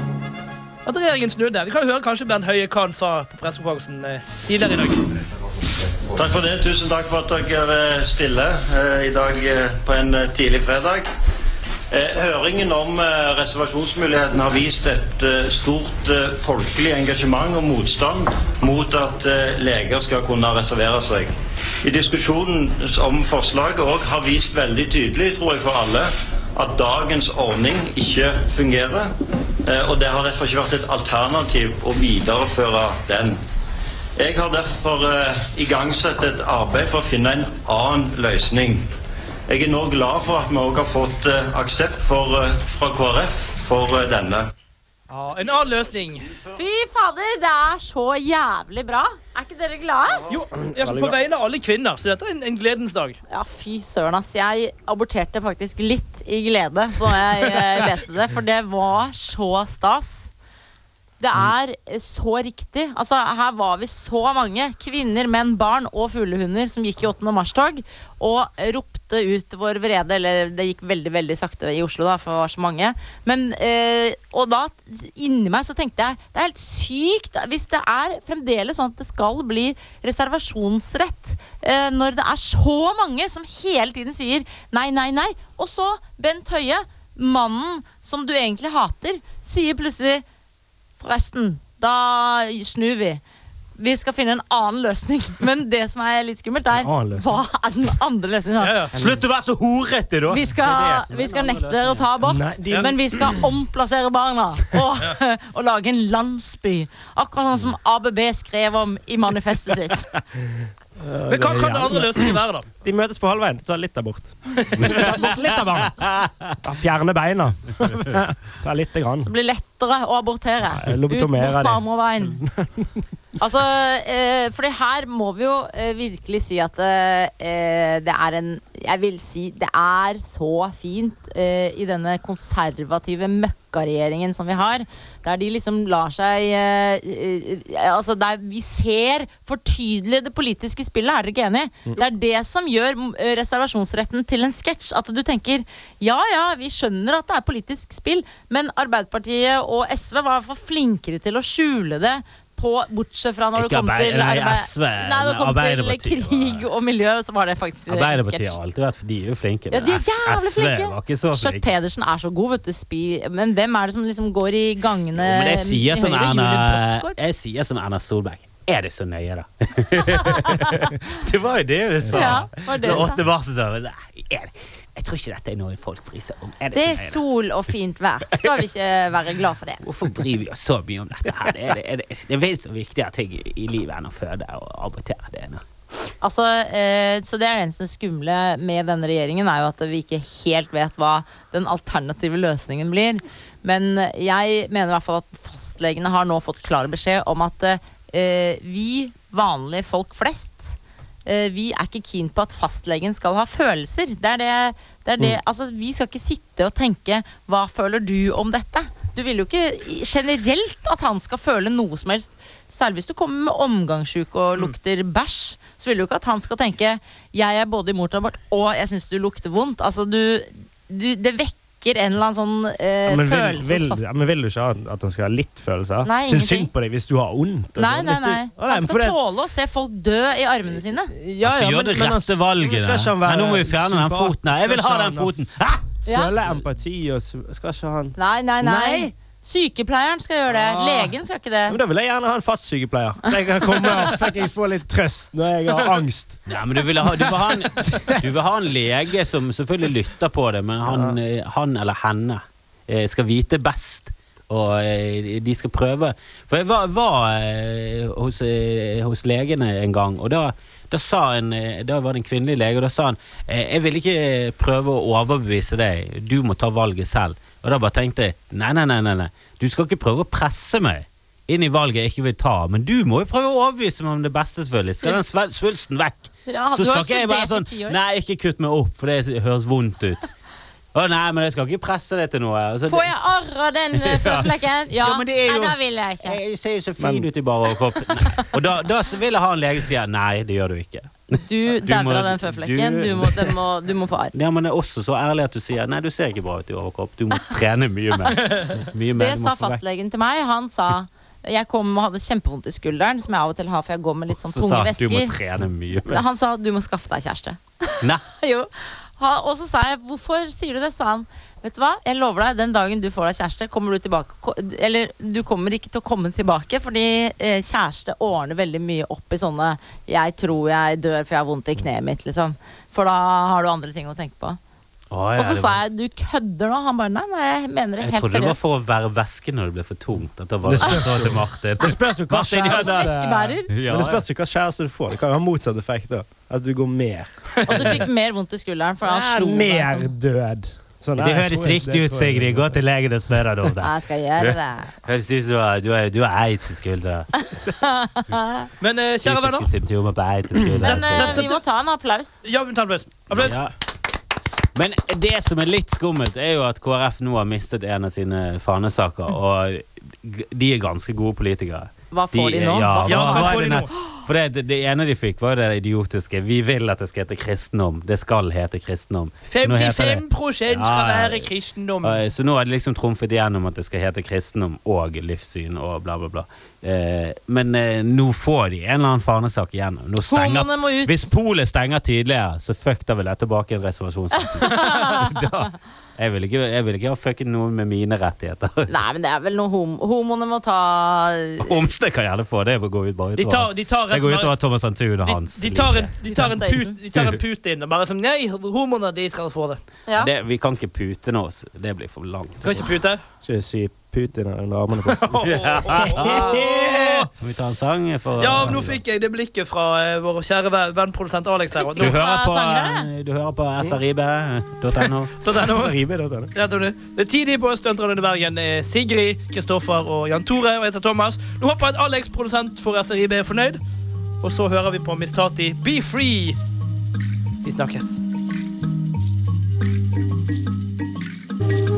Speaker 3: At regjeringen snudde. Vi kan jo høre kanskje Bent Høie hva han sa på pressekonferansen eh, tidligere i dag.
Speaker 7: Takk for det. Tusen takk for at dere stiller eh, i dag eh, på en eh, tidlig fredag. Eh, Høringen om eh, reservasjonsmuligheten har vist et eh, stort eh, folkelig engasjement og motstand mot at eh, leger skal kunne reservere seg. I diskusjonen om forslaget også har vist veldig tydelig, tror jeg for alle, at dagens ordning ikke fungerer. eh, Og det har derfor ikke vært et alternativ å videreføre den. Jeg har derfor eh, igangsatt et arbeid for å finne en annen løsning. Jeg er nå glad for at vi også har fått eh, aksept for, eh, fra KrF for eh, denne.
Speaker 3: Ja, En annen løsning.
Speaker 5: Fy fader, det er så jævlig bra. Er ikke dere glade?
Speaker 3: Jo, altså, På vegne av alle kvinner, så dette er en, en gledens dag.
Speaker 5: Ja, fy søren, ass. Jeg aborterte faktisk litt i glede da jeg eh, leste det, for det var så stas. Det er eh, så riktig. Altså, her var vi så mange. Kvinner, menn, barn og fuglehunder som gikk i 8. mars-tog og ropte ut vår vrede. Eller det gikk veldig veldig sakte i Oslo, da, for det var så mange. Men, eh, og da inni meg så tenkte jeg det er helt sykt hvis det er fremdeles sånn at det skal bli reservasjonsrett eh, når det er så mange som hele tiden sier nei, nei, nei. Og så Bent Høie, mannen som du egentlig hater, sier plutselig Forresten, da snur vi. Vi skal finne en annen løsning. Men det som er litt skummelt, er
Speaker 6: En annen løsning.
Speaker 5: hva er den andre løsningen?
Speaker 3: Ja,
Speaker 5: da?
Speaker 3: ja.
Speaker 4: Slutt å være så horete, da!
Speaker 5: Vi skal, vi skal nekte dere å ta abort,
Speaker 6: Nei, de-
Speaker 5: men vi skal omplassere barna og, og lage en landsby. Akkurat sånn som ABB skrev om i manifestet sitt.
Speaker 3: Men hva kan den andre løsningen være, da?
Speaker 6: De møtes på halvveien, ta litt abort. Ta bort litt av barnet. Ja, Fjerne beina. Ta lite grann.
Speaker 5: Det blir lettere å abortere.
Speaker 6: Nei,
Speaker 5: Ut mot
Speaker 6: lobotomere de.
Speaker 5: barmoveien. Altså, eh, fordi her må vi jo eh, virkelig si at eh, det er en Jeg vil si det er så fint eh, i denne konservative møkkaregjeringen som vi har, der de liksom lar seg eh, eh, Altså, der vi ser for tydelig det politiske spillet, er dere ikke enig? Det er det som gjør mm, eh, reservasjonsretten til en sketsj. At du tenker ja ja, vi skjønner at det er politisk spill, men Arbeiderpartiet og SV var i hvert fall flinkere til å skjule det. På, bortsett fra når det
Speaker 4: Ikke
Speaker 5: kom
Speaker 4: Arbeid-
Speaker 5: til
Speaker 4: nei,
Speaker 5: arbeid-
Speaker 4: SV,
Speaker 5: Nei, når det kom
Speaker 4: Arbeiderpartiet
Speaker 5: til krig og miljø, så var det faktisk en
Speaker 4: Arbeiderpartiet
Speaker 5: sketsj.
Speaker 4: har alltid vært De er jo flinke.
Speaker 5: Ja, de er
Speaker 4: men
Speaker 5: jævlig
Speaker 4: SV var ikke
Speaker 5: flinke.
Speaker 4: så
Speaker 5: Skjøtt
Speaker 4: flinke.
Speaker 5: Pedersen er så god, vet du. Spi. Men hvem er det som liksom går i gangene
Speaker 4: Jo, Men jeg sier sånn som
Speaker 5: i Høyre og
Speaker 4: Erna,
Speaker 5: Julie Brottgaard?
Speaker 4: jeg sier som Erna Solberg. Er det så nøye, da? det var jo det hun sa.
Speaker 5: Ja, det var det hun
Speaker 4: Når
Speaker 5: sa.
Speaker 4: åtte var så sa hun, "Nei, er det- Jeg tror ikke dette er noe folk bryr seg om. Er det,
Speaker 5: Det er
Speaker 4: så nøye, da?
Speaker 5: sol og fint vær. Skal vi ikke være glad for det?
Speaker 4: Hvorfor bryr vi oss så mye om dette her? Det er, det, er, det, det finnes så viktigere ting i- i livet enn å føde og abortere. Det er noe.
Speaker 5: Altså, eh, så det er det eneste skumle med denne regjeringen, er jo at vi ikke helt vet hva den alternative løsningen blir. Men jeg mener i hvert fall at fastlegene har nå fått klar beskjed om at eh, vi vanlige folk flest eh, vi er ikke keen på at fastlegen skal ha følelser. Det er det, det er det, altså, vi skal ikke sitte og tenke 'hva føler du om dette'? Du vil jo ikke i- generelt at han skal føle noe som helst. Særlig hvis du kommer med omgangssjuke og lukter bæsj. Så vil du ikke at han skal tenke 'jeg er både imot abort og jeg syns du lukter vondt'. Altså, du, du, det vekker en eller annen sånn eh,
Speaker 6: Ja, men, vil,
Speaker 5: følelse
Speaker 6: vil,
Speaker 5: hos fast...
Speaker 6: ja, men vil du ikke ha- at han skal ha litt følelser?
Speaker 5: Nei,
Speaker 6: Syns
Speaker 5: ingenting.
Speaker 6: synd på deg hvis du har vondt. og
Speaker 5: Nei,
Speaker 6: sånn.
Speaker 5: nei,
Speaker 6: Hvis du-
Speaker 5: nei.
Speaker 6: Å,
Speaker 5: Han
Speaker 6: men
Speaker 5: skal
Speaker 6: for det-
Speaker 5: tåle å se folk dø i armene sine.
Speaker 6: Ja,
Speaker 4: Skal gjøre
Speaker 6: ja,
Speaker 4: det
Speaker 6: men- men han-
Speaker 4: rette
Speaker 5: altså,
Speaker 4: valget.
Speaker 6: men skal ikke
Speaker 4: da.
Speaker 6: han
Speaker 4: Nei,
Speaker 6: være
Speaker 4: nå må vi fjerne den
Speaker 6: super-
Speaker 4: foten. her. Jeg vil ha
Speaker 6: skal ikke
Speaker 4: den
Speaker 6: han
Speaker 4: foten! Hæ?
Speaker 5: Ja.
Speaker 6: Føle empati og s- Skal ikke han
Speaker 5: Nei, nei, nei.
Speaker 6: Nei.
Speaker 5: Sykepleieren skal gjøre det.
Speaker 6: Ah.
Speaker 5: Legen skal ikke
Speaker 6: Men
Speaker 5: det.
Speaker 6: Da vil jeg gjerne ha en fast sykepleier, så jeg kan komme og fuckings få litt trøst når jeg har angst.
Speaker 4: Nei, men du vil, ha, du, vil ha en, du vil ha en lege som selvfølgelig lytter på det, men han, eh, han eller henne eh, skal vite best Og eh, de skal prøve For jeg var, var eh, hos, eh, hos legene en gang, og da, da, sa en, eh, da var det en kvinnelig lege, og da sa han eh, Jeg vil ikke prøve å overbevise deg, du må ta valget selv. Og da bare tenkte jeg nei, nei, nei, nei, nei. du skal ikke prøve å presse meg inn i valget jeg ikke vil ta, men du må jo prøve å overbevise meg om det beste, selvfølgelig. Skal den svel- svulsten vekk,
Speaker 5: Ja,
Speaker 4: så
Speaker 5: du har
Speaker 4: skal ikke jeg være
Speaker 5: studert i
Speaker 4: sånn
Speaker 5: ti år.
Speaker 4: Nei, ikke kutt meg opp, for det høres vondt ut. Å nei, men jeg skal ikke presse deg til noe. Altså,
Speaker 5: Får jeg arr av den eh, føflekken? Ja,
Speaker 4: Ja, men det er jo- Eh,
Speaker 5: Nei, da vil jeg ikke.
Speaker 4: Jeg ser jo så fin ut i bare overkropp. Og da, da så vil jeg ha en lege som sier nei, det gjør du ikke.
Speaker 5: Du
Speaker 4: Du må-
Speaker 5: dauer av den føflekken.
Speaker 4: du-
Speaker 5: Du må, den må, du må få arr.
Speaker 4: Ja, men det er også så ærlig at du sier nei, du ser ikke bra ut i overkropp, du må trene mye mer. Mye mer,
Speaker 5: Det
Speaker 4: du må
Speaker 5: sa
Speaker 4: få vekk-
Speaker 5: fastlegen til meg. Han sa jeg kom og hadde kjempevondt i skulderen, som jeg av og til har, for jeg går med litt sånn
Speaker 4: Så sa
Speaker 5: tunge
Speaker 4: han, du må
Speaker 5: væsker.
Speaker 4: trene mye mer.
Speaker 5: Han sa du må skaffe deg kjæreste.
Speaker 4: Nei,
Speaker 5: jo. Ha- Og så sa jeg hvorfor sier du det? sa han. Vet du hva, jeg lover deg, den dagen du får deg kjæreste, kommer du tilbake ko- Eller du kommer ikke til å komme tilbake, fordi eh, kjæreste ordner veldig mye opp i sånne 'jeg tror jeg dør for jeg har vondt i kneet mitt', liksom. For da har du andre ting å tenke på.
Speaker 4: Å, ja,
Speaker 5: Og så
Speaker 4: det
Speaker 5: sa
Speaker 4: var-
Speaker 5: jeg 'du kødder nå'? Han bare 'nei, nei, jeg mener det
Speaker 4: Jeg
Speaker 5: helt
Speaker 4: trodde det var
Speaker 5: seriøst'.
Speaker 4: for å bære væske når det ble for tungt. At det var det til Martin.
Speaker 6: Det spørs jo hva
Speaker 4: Martin, ja,
Speaker 6: skjæreste-
Speaker 4: det-
Speaker 5: Væskebærer.
Speaker 4: Ja,
Speaker 6: Men det
Speaker 4: ja.
Speaker 6: spørs jo hva kjæreste du får. Det kan jo ha motsatt effekt. da At du går mer.
Speaker 5: Og du fikk mer vondt i skulderen, for han slo meg
Speaker 6: Mer
Speaker 5: sånn.
Speaker 6: død. Sånn,
Speaker 4: Det
Speaker 6: nei, jeg
Speaker 4: høres
Speaker 6: tror jeg-
Speaker 4: riktig
Speaker 6: det
Speaker 4: ut,
Speaker 6: tror jeg-
Speaker 4: Sigrid. Gå til legen og spør deg om det.
Speaker 5: Jeg skal gjøre det.
Speaker 4: Høres ut som du har- du har du har aids i skuldra.
Speaker 3: Men eh, kjære venner
Speaker 4: Typiske symptomer på aids i skuldra.
Speaker 5: Men eh,
Speaker 4: altså.
Speaker 5: vi må ta en applaus.
Speaker 3: Ja, vi tar en applaus. Applaus.
Speaker 4: Ja. Men det som er litt skummelt, er jo at KrF nå har mistet en av sine fanesaker.
Speaker 3: Mm.
Speaker 4: Og g- de er ganske gode politikere.
Speaker 5: Hva får de nå?
Speaker 4: Ja,
Speaker 3: Ja, hva
Speaker 4: hva, hva
Speaker 3: får
Speaker 4: er
Speaker 3: de
Speaker 4: det
Speaker 3: nå?
Speaker 4: nå? For det, det ene de fikk, var jo det idiotiske. Vi vil at det skal hete kristendom. Det skal hete kristendom. Nå heter det-
Speaker 3: 55 skal være kristendom.
Speaker 4: Eh, Så nå har de liksom trumfet igjennom at det skal hete kristendom og livssyn og bla, bla, bla. Eh, men eh, nå får de en eller annen fanesak igjennom. Nå stenger,
Speaker 5: Homoene må ut.
Speaker 4: Hvis polet stenger tidligere, så fuck, da vil jeg tilbake en reservasjonsretten. Da- jeg, vil ikke, jeg vil ikke ha fucket noen med mine rettigheter.
Speaker 5: Nei, men det er vel noe hom homoene må ta
Speaker 4: Homse kan gjerne få det. Det går ut bare
Speaker 3: De tar,
Speaker 4: utover
Speaker 3: de tar
Speaker 4: Det går
Speaker 3: resten
Speaker 4: utover
Speaker 3: av
Speaker 4: Thomas Antun og
Speaker 3: de,
Speaker 4: hans
Speaker 3: de, tar
Speaker 4: liv.
Speaker 3: en, de, tar en
Speaker 5: Hans
Speaker 3: put, de tar en Putin og bare som Nei, homoene de skal få det.
Speaker 5: Ja.
Speaker 4: det, Vi kan ikke pute nå, så det blir for langt.
Speaker 3: Kan ikke pute.
Speaker 6: Ikke sy Putin under armene på oss.
Speaker 4: Kan vi ta en sang? For,
Speaker 3: Ja, nå fikk jeg det blikket fra eh, vår kjære ve- vennprodusent Alex her. og
Speaker 4: du
Speaker 3: Nå,
Speaker 4: hører, på, eh,
Speaker 5: Sangere?
Speaker 4: du hører på srib.no.
Speaker 3: da der nå-
Speaker 6: Så rimer jeg det, da.
Speaker 3: Ja, Tone. Det er tidlig på Studentradioen i Bergen. Eh, Sigrid, Kristoffer og Jan Tore. Og jeg heter Thomas. Nå håper jeg at Alex, produsent for SRIB, er fornøyd. Og så hører vi på Miss Tati, Be Free. Vi snakkes.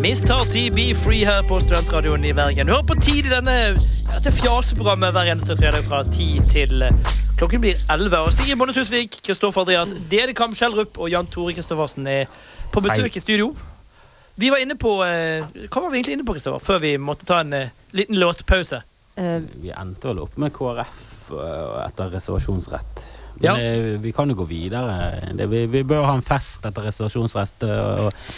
Speaker 3: Miss Tati, Be Free her på Studentradioen i Bergen. Du hører på tid i denne ja, det fjaseprogrammet hver eneste fredag fra 10 til eh, Klokken blir 11. Og Sigrid Bonde Tusvik, Kristoffer Andreas Dedekam Schjelderup og Jan Tore Kristoffersen er på besøk i studio. Vi var inne på eh, Hva var vi egentlig inne på, Kristoffer? Før vi måtte ta en eh, liten låtpause.
Speaker 5: Eh,
Speaker 4: Vi endte vel opp med KrF eh, etter reservasjonsrett. Men
Speaker 3: Ja.
Speaker 4: eh, vi kan jo gå videre. Det, vi, vi bør ha en fest etter reservasjonsrett. eh, Og,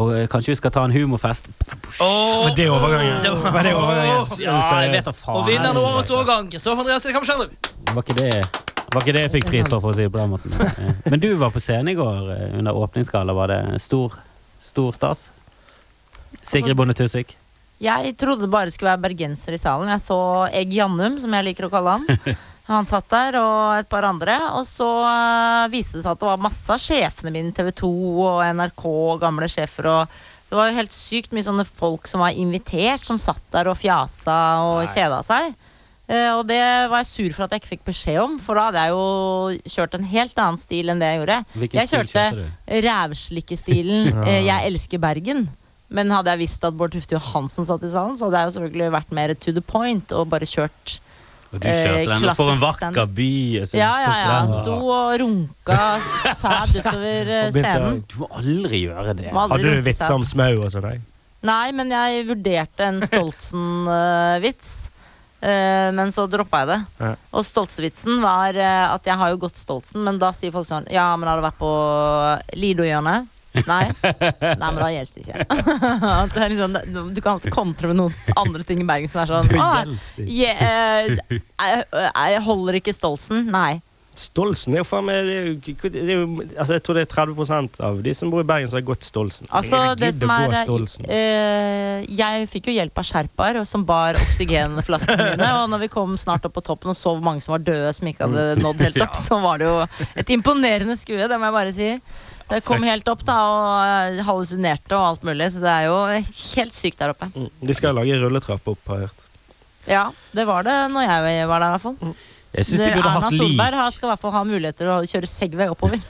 Speaker 4: og eh, kanskje vi skal ta en humorfest.
Speaker 6: Men det er overgangen.
Speaker 3: Det var-
Speaker 6: Men det er overgangen.
Speaker 4: Ja, jeg vet da faen.
Speaker 3: Og vinneren av
Speaker 4: altså.
Speaker 3: årets årgang, Kristoffer Andreas Dedekam Schjelderup.
Speaker 4: Var ikke det var ikke det jeg fikk pris for, for å si det på den måten. Eh, Men du var på scenen i går eh, under åpningsgalla. Var det stor, stor stas? Sigrid Bonde Tusvik.
Speaker 5: jeg trodde det bare skulle være bergensere i salen. Jeg så Egg Jannum, som jeg liker å kalle han. Han satt der, og et par andre. Og så eh, viste det seg at det var masse av sjefene mine, TV 2 og NRK og gamle sjefer. Og det var jo helt sykt mye sånne folk som var invitert, som satt der og fjasa og kjeda seg. Eh, og det var jeg sur for at jeg ikke fikk beskjed om, for da hadde jeg jo kjørt en helt annen stil enn det jeg gjorde.
Speaker 4: Hvilken
Speaker 5: jeg
Speaker 4: stil
Speaker 5: kjørte
Speaker 4: kjørte
Speaker 5: rævslikkestilen eh, 'Jeg elsker Bergen'. Men hadde jeg visst at Bård Tufte Johansen satt i salen, så hadde jeg jo selvfølgelig vært mer to the point og bare kjørt.
Speaker 4: Og
Speaker 5: du kjørte Eh, den, og for en klassisk vakker standup.
Speaker 4: by. altså.
Speaker 5: Ja, ja, ja. Sto og runka sæd utover eh,
Speaker 6: Og begynte å-
Speaker 5: scenen.
Speaker 4: Du må aldri gjøre det.
Speaker 5: Må aldri
Speaker 6: Hadde du
Speaker 5: runke
Speaker 6: vitser
Speaker 5: sæd.
Speaker 6: om smau og sånn? nei?
Speaker 5: Nei, men jeg vurderte en Stoltsen-vits. eh, men så droppa jeg det.
Speaker 6: Ja.
Speaker 5: Og Stoltsen-vitsen var eh, at jeg har jo gått Stoltsen, men da sier folk sånn Ja, men har du vært på Lido-hjørnet? Nei. Nei, men da gjelder det ikke. At det er liksom, det- du kan alltid kontre med noen andre ting i Bergen som er sånn «Å,
Speaker 6: Gjeldstil.
Speaker 5: je, eh, jeg, jeg holder ikke Stoltsen. Nei.
Speaker 6: Stolsen er jo faen meg det er jo- det er jo- altså Jeg tror det er 30 av de som bor i Bergen, som har gått Stolsen.
Speaker 5: Altså,
Speaker 6: Ingen
Speaker 5: det
Speaker 6: gidder
Speaker 5: som
Speaker 6: å
Speaker 5: er
Speaker 6: gå Stolsen.
Speaker 5: eh, Jeg fikk jo hjelp av sherpaer og som bar oksygenflaskene mine. Og når vi kom snart opp på toppen og så hvor mange som var døde som ikke hadde nådd helt opp, så var det jo et imponerende skue, det må jeg bare si. Det kom helt opp da og eh, hallusinerte og alt mulig, så det er jo helt sykt der oppe.
Speaker 6: Mm, De skal lage rulletrapp opp, har jeg hørt.
Speaker 5: Ja, det var det når jeg var der, i hvert fall.
Speaker 4: Jeg syns de
Speaker 5: Det-
Speaker 4: burde
Speaker 5: Erna
Speaker 4: hatt
Speaker 5: Solberg
Speaker 4: lik.
Speaker 5: har- skal i hvert fall ha muligheter å kjøre Segway oppover.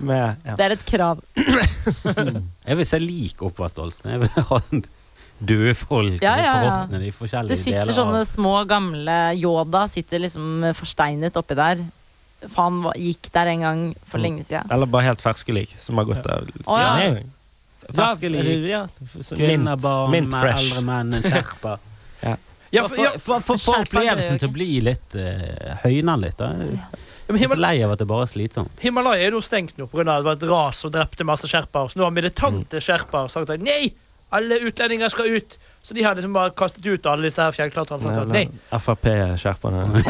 Speaker 6: Med, ja.
Speaker 5: Det er et krav.
Speaker 4: Jeg vil se lik oppvaskdolsen. Jeg vil ha en døde folk
Speaker 5: Ja, ja, ja.
Speaker 4: og forhåpne de forskjellige
Speaker 5: Det sitter
Speaker 4: deler
Speaker 5: sånne
Speaker 4: av
Speaker 5: små, gamle Yoda sitter liksom forsteinet oppi der. Faen hva- gikk der en gang for lenge siden.
Speaker 6: Eller bare helt ferske lik, som har gått der.
Speaker 5: Å, ja.
Speaker 6: Ja,
Speaker 4: Ferske lik.
Speaker 6: Ja, sånn
Speaker 4: Kvinner,
Speaker 6: mint-
Speaker 4: barn,
Speaker 6: mint
Speaker 4: med
Speaker 6: fresh.
Speaker 4: eldre menn, en sherpa.
Speaker 3: Ja, for,
Speaker 4: Få
Speaker 3: ja,
Speaker 4: få- få- få
Speaker 5: Skjerpa
Speaker 4: opplevelsen
Speaker 5: deg,
Speaker 4: til å bli litt eh, Høyne den litt. Da.
Speaker 3: ja, men
Speaker 4: Jeg er så
Speaker 3: Himal
Speaker 4: lei av at det bare er slitsomt.
Speaker 3: Himalaya er jo stengt nå pga. det var et ras og drepte masse sherpaer. Så nå har
Speaker 6: Mm.
Speaker 3: militante sherpaer sagt at nei, alle utlendinger skal ut. Så de har liksom bare kastet ut alle disse her fjellklatrerne. og sagt at Nei. altså,
Speaker 6: Frp-skjerperne.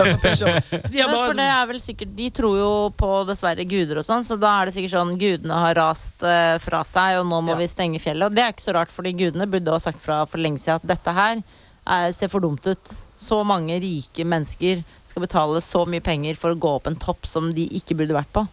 Speaker 3: Så de har
Speaker 5: Men
Speaker 3: bare
Speaker 5: for det er vel sikkert, De tror jo på dessverre guder og sånn, så da er det sikkert sånn gudene har rast eh, fra seg, og nå må
Speaker 3: Ja.
Speaker 5: vi stenge fjellet. Og det er ikke så rart, fordi gudene burde ha sagt fra for lenge siden at dette her er, ser for dumt ut. Så mange rike mennesker skal betale så mye penger for å gå opp en topp som de ikke burde vært på.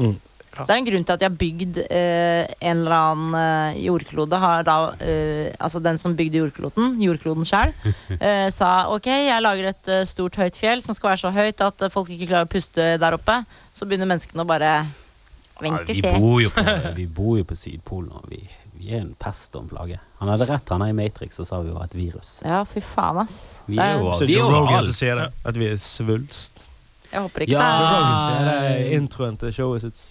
Speaker 6: Mm.
Speaker 5: Det er en grunn til at de har bygd eh, en eller annen eh, jordklode. Har da, eh, altså den som bygde jordkloden, jordkloden sjøl, eh, sa ok, jeg lager et eh, stort høyt fjell som skal være så høyt at eh, folk ikke klarer å puste der oppe. Så begynner menneskene å bare
Speaker 4: Ja,
Speaker 5: vente
Speaker 4: vi,
Speaker 5: se.
Speaker 4: bor jo på, vi bor jo på Sydpolen, og vi, vi er en pest og en plage. Han hadde rett, han er i Matrix, og sa vi var et virus.
Speaker 5: Ja, fy faen, ass.
Speaker 4: Vi
Speaker 5: Det
Speaker 4: er
Speaker 5: er-
Speaker 4: jo
Speaker 6: Så
Speaker 4: vi er
Speaker 6: Joe Rogan som
Speaker 4: overalt.
Speaker 6: sier det. At vi er svulst.
Speaker 5: Jeg håper ikke
Speaker 4: Ja.
Speaker 5: det.
Speaker 6: Joe
Speaker 5: er-
Speaker 6: Rogan sier det i introen til showet sitt.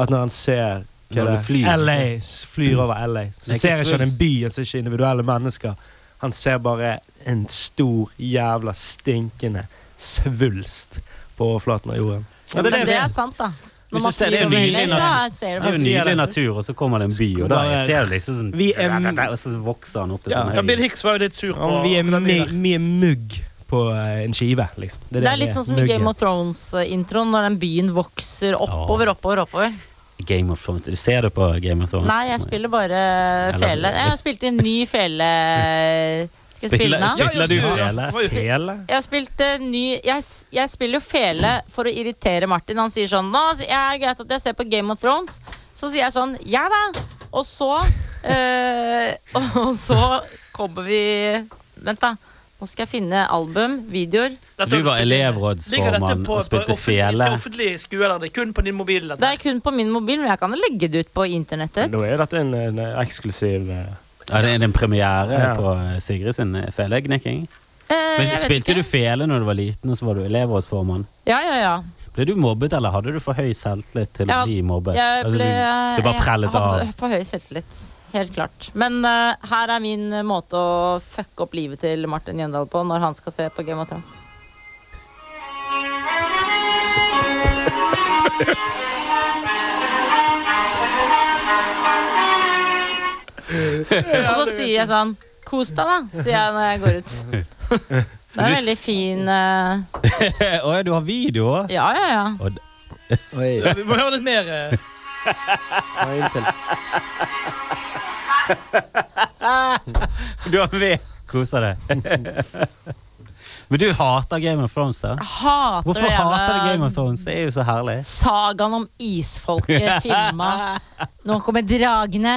Speaker 6: At når han ser hva
Speaker 4: Når
Speaker 6: det
Speaker 4: du flyr.
Speaker 6: LA s- flyr over LA,
Speaker 4: Det er
Speaker 6: så
Speaker 4: ikke
Speaker 6: ser ikke han en
Speaker 4: svulst.
Speaker 6: by, han ser ikke individuelle mennesker. Han ser bare en stor, jævla stinkende svulst på overflaten av jorden. Ja,
Speaker 5: Men Altså, det
Speaker 6: vi-
Speaker 5: er sant, da. Når
Speaker 4: Hvis
Speaker 5: man
Speaker 4: du ser
Speaker 5: flyr
Speaker 4: det
Speaker 5: over
Speaker 4: nydelig
Speaker 5: hele, så
Speaker 4: natur-
Speaker 5: ser
Speaker 4: Det
Speaker 5: det
Speaker 4: er jo
Speaker 5: faktisk-
Speaker 6: sier
Speaker 4: nydelig
Speaker 6: det.
Speaker 4: natur, og så kommer det en by, og da
Speaker 6: Bare-
Speaker 4: ser du liksom sånn
Speaker 6: Vi er-
Speaker 4: Og så vokser han opp til
Speaker 6: Ja.
Speaker 4: sånn
Speaker 3: Ja, Bill
Speaker 4: høy.
Speaker 3: Hicks var jo litt sur på
Speaker 6: Ja, vi er
Speaker 3: hvordan vi
Speaker 6: mye,
Speaker 3: der.
Speaker 6: mye mugg på eh, en skive, liksom.
Speaker 5: Det er litt
Speaker 6: vi
Speaker 5: sånn som i
Speaker 6: muggen.
Speaker 5: Game of Thrones-introen, når den byen vokser oppover, oppover, oppover.
Speaker 4: Game of Thrones. Du ser det på Game of Thrones?
Speaker 5: Nei, jeg spiller bare
Speaker 4: Eller-
Speaker 5: fele. Jeg har spilt en ny fele Skal jeg spille
Speaker 4: Spiller,
Speaker 5: den av?
Speaker 4: spiller du
Speaker 3: Ja, ja,
Speaker 4: fele?
Speaker 3: ja.
Speaker 4: Fele?
Speaker 5: Jeg har spilt eh, ny jeg, s- jeg spiller jo fele for å irritere Martin. Han sier sånn Nå jeg er det greit at jeg ser på Game of Thrones. Så sier jeg sånn Ja da! Og så eh, Og så kommer vi Vent, da. Nå skal jeg finne album, videoer.
Speaker 3: Dette-
Speaker 4: Du var elevrådsformann og spilte
Speaker 3: Ligger dette på- på
Speaker 4: fele.
Speaker 3: offentlig- offentlige skoler? Det er kun på din mobil? dette.
Speaker 5: Det er kun på min mobil, men jeg kan legge det ut på internettet.
Speaker 6: Nå er dette en, en eksklusiv eh,
Speaker 4: Ja, det er en premiere
Speaker 6: Ja.
Speaker 4: på eh, Sigrid sin feleknikking.
Speaker 5: Eh,
Speaker 4: Men
Speaker 5: jeg vet
Speaker 4: spilte
Speaker 5: ikke.
Speaker 4: du fele når du var liten, og så var du elevrådsformann?
Speaker 5: Ja, ja, ja.
Speaker 4: Ble du mobbet, eller hadde du for høy selvtillit til å
Speaker 5: Ja,
Speaker 4: bli mobbet?
Speaker 5: Jeg
Speaker 4: Altså,
Speaker 5: ble,
Speaker 4: du, du bare prellet
Speaker 5: jeg
Speaker 4: av.
Speaker 5: hadde for høy selvtillit. Helt klart. Men eh, her er min eh, måte å fucke opp livet til Martin Jøndal på når han skal se på Game of Thrones. Og så sier jeg sånn Kos deg, da, sier jeg når jeg går ut.
Speaker 4: du
Speaker 5: Det er en
Speaker 4: s-
Speaker 5: veldig fin eh,
Speaker 4: Å ja, du har video òg?
Speaker 5: Ja, ja, ja.
Speaker 3: Ja, Vi må høre litt mer. eh.
Speaker 4: Du har med. Koser deg. Men du hater Game of Thrones, da?
Speaker 5: Hater
Speaker 4: Hvorfor
Speaker 5: det jævla-
Speaker 4: hater du Game of Thrones? Det er jo så herlig.
Speaker 5: Sagaen om isfolket filma. Nå kommer dragene.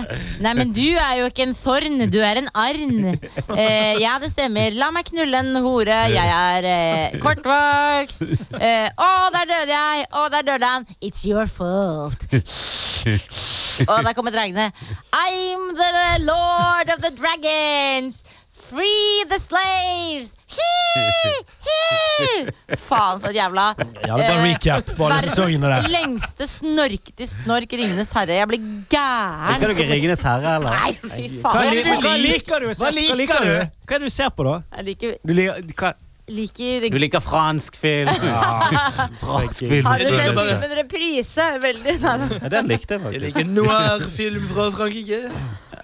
Speaker 5: Nei, men du er jo ikke en thorn, du er en arn. Eh, ja, det stemmer. La meg knulle en hore. Jeg er eh, kortvokst. Eh, å, der døde jeg! Å, der døde han! It's your fault. Og der kommer dragene. I'm the lord of the dragons! Free the slaves! Hi, hi. Faen, for et jævla
Speaker 6: Ja, det er bare
Speaker 5: eh,
Speaker 6: recap på alle sesongene der.
Speaker 5: Verdens lengste snorkete snork Ringenes herre. Jeg blir
Speaker 4: Liker
Speaker 5: gæren.
Speaker 4: dere Ringenes herre, eller?
Speaker 5: Nei, fy
Speaker 6: Hva,
Speaker 5: faen.
Speaker 6: li-
Speaker 4: Hva
Speaker 6: hva
Speaker 4: liker
Speaker 6: liker du? Hva liker, du? Hva er det du ser på, da?
Speaker 5: Jeg liker,
Speaker 6: Du liker, hva?
Speaker 5: liker
Speaker 4: Du liker fransk film. fransk film.
Speaker 5: Har dere sett
Speaker 4: Ja,
Speaker 5: filmen Reprise? Veldig nær.
Speaker 4: den likte jeg
Speaker 3: Jeg
Speaker 4: faktisk.
Speaker 3: liker noir-film fra Frankrike.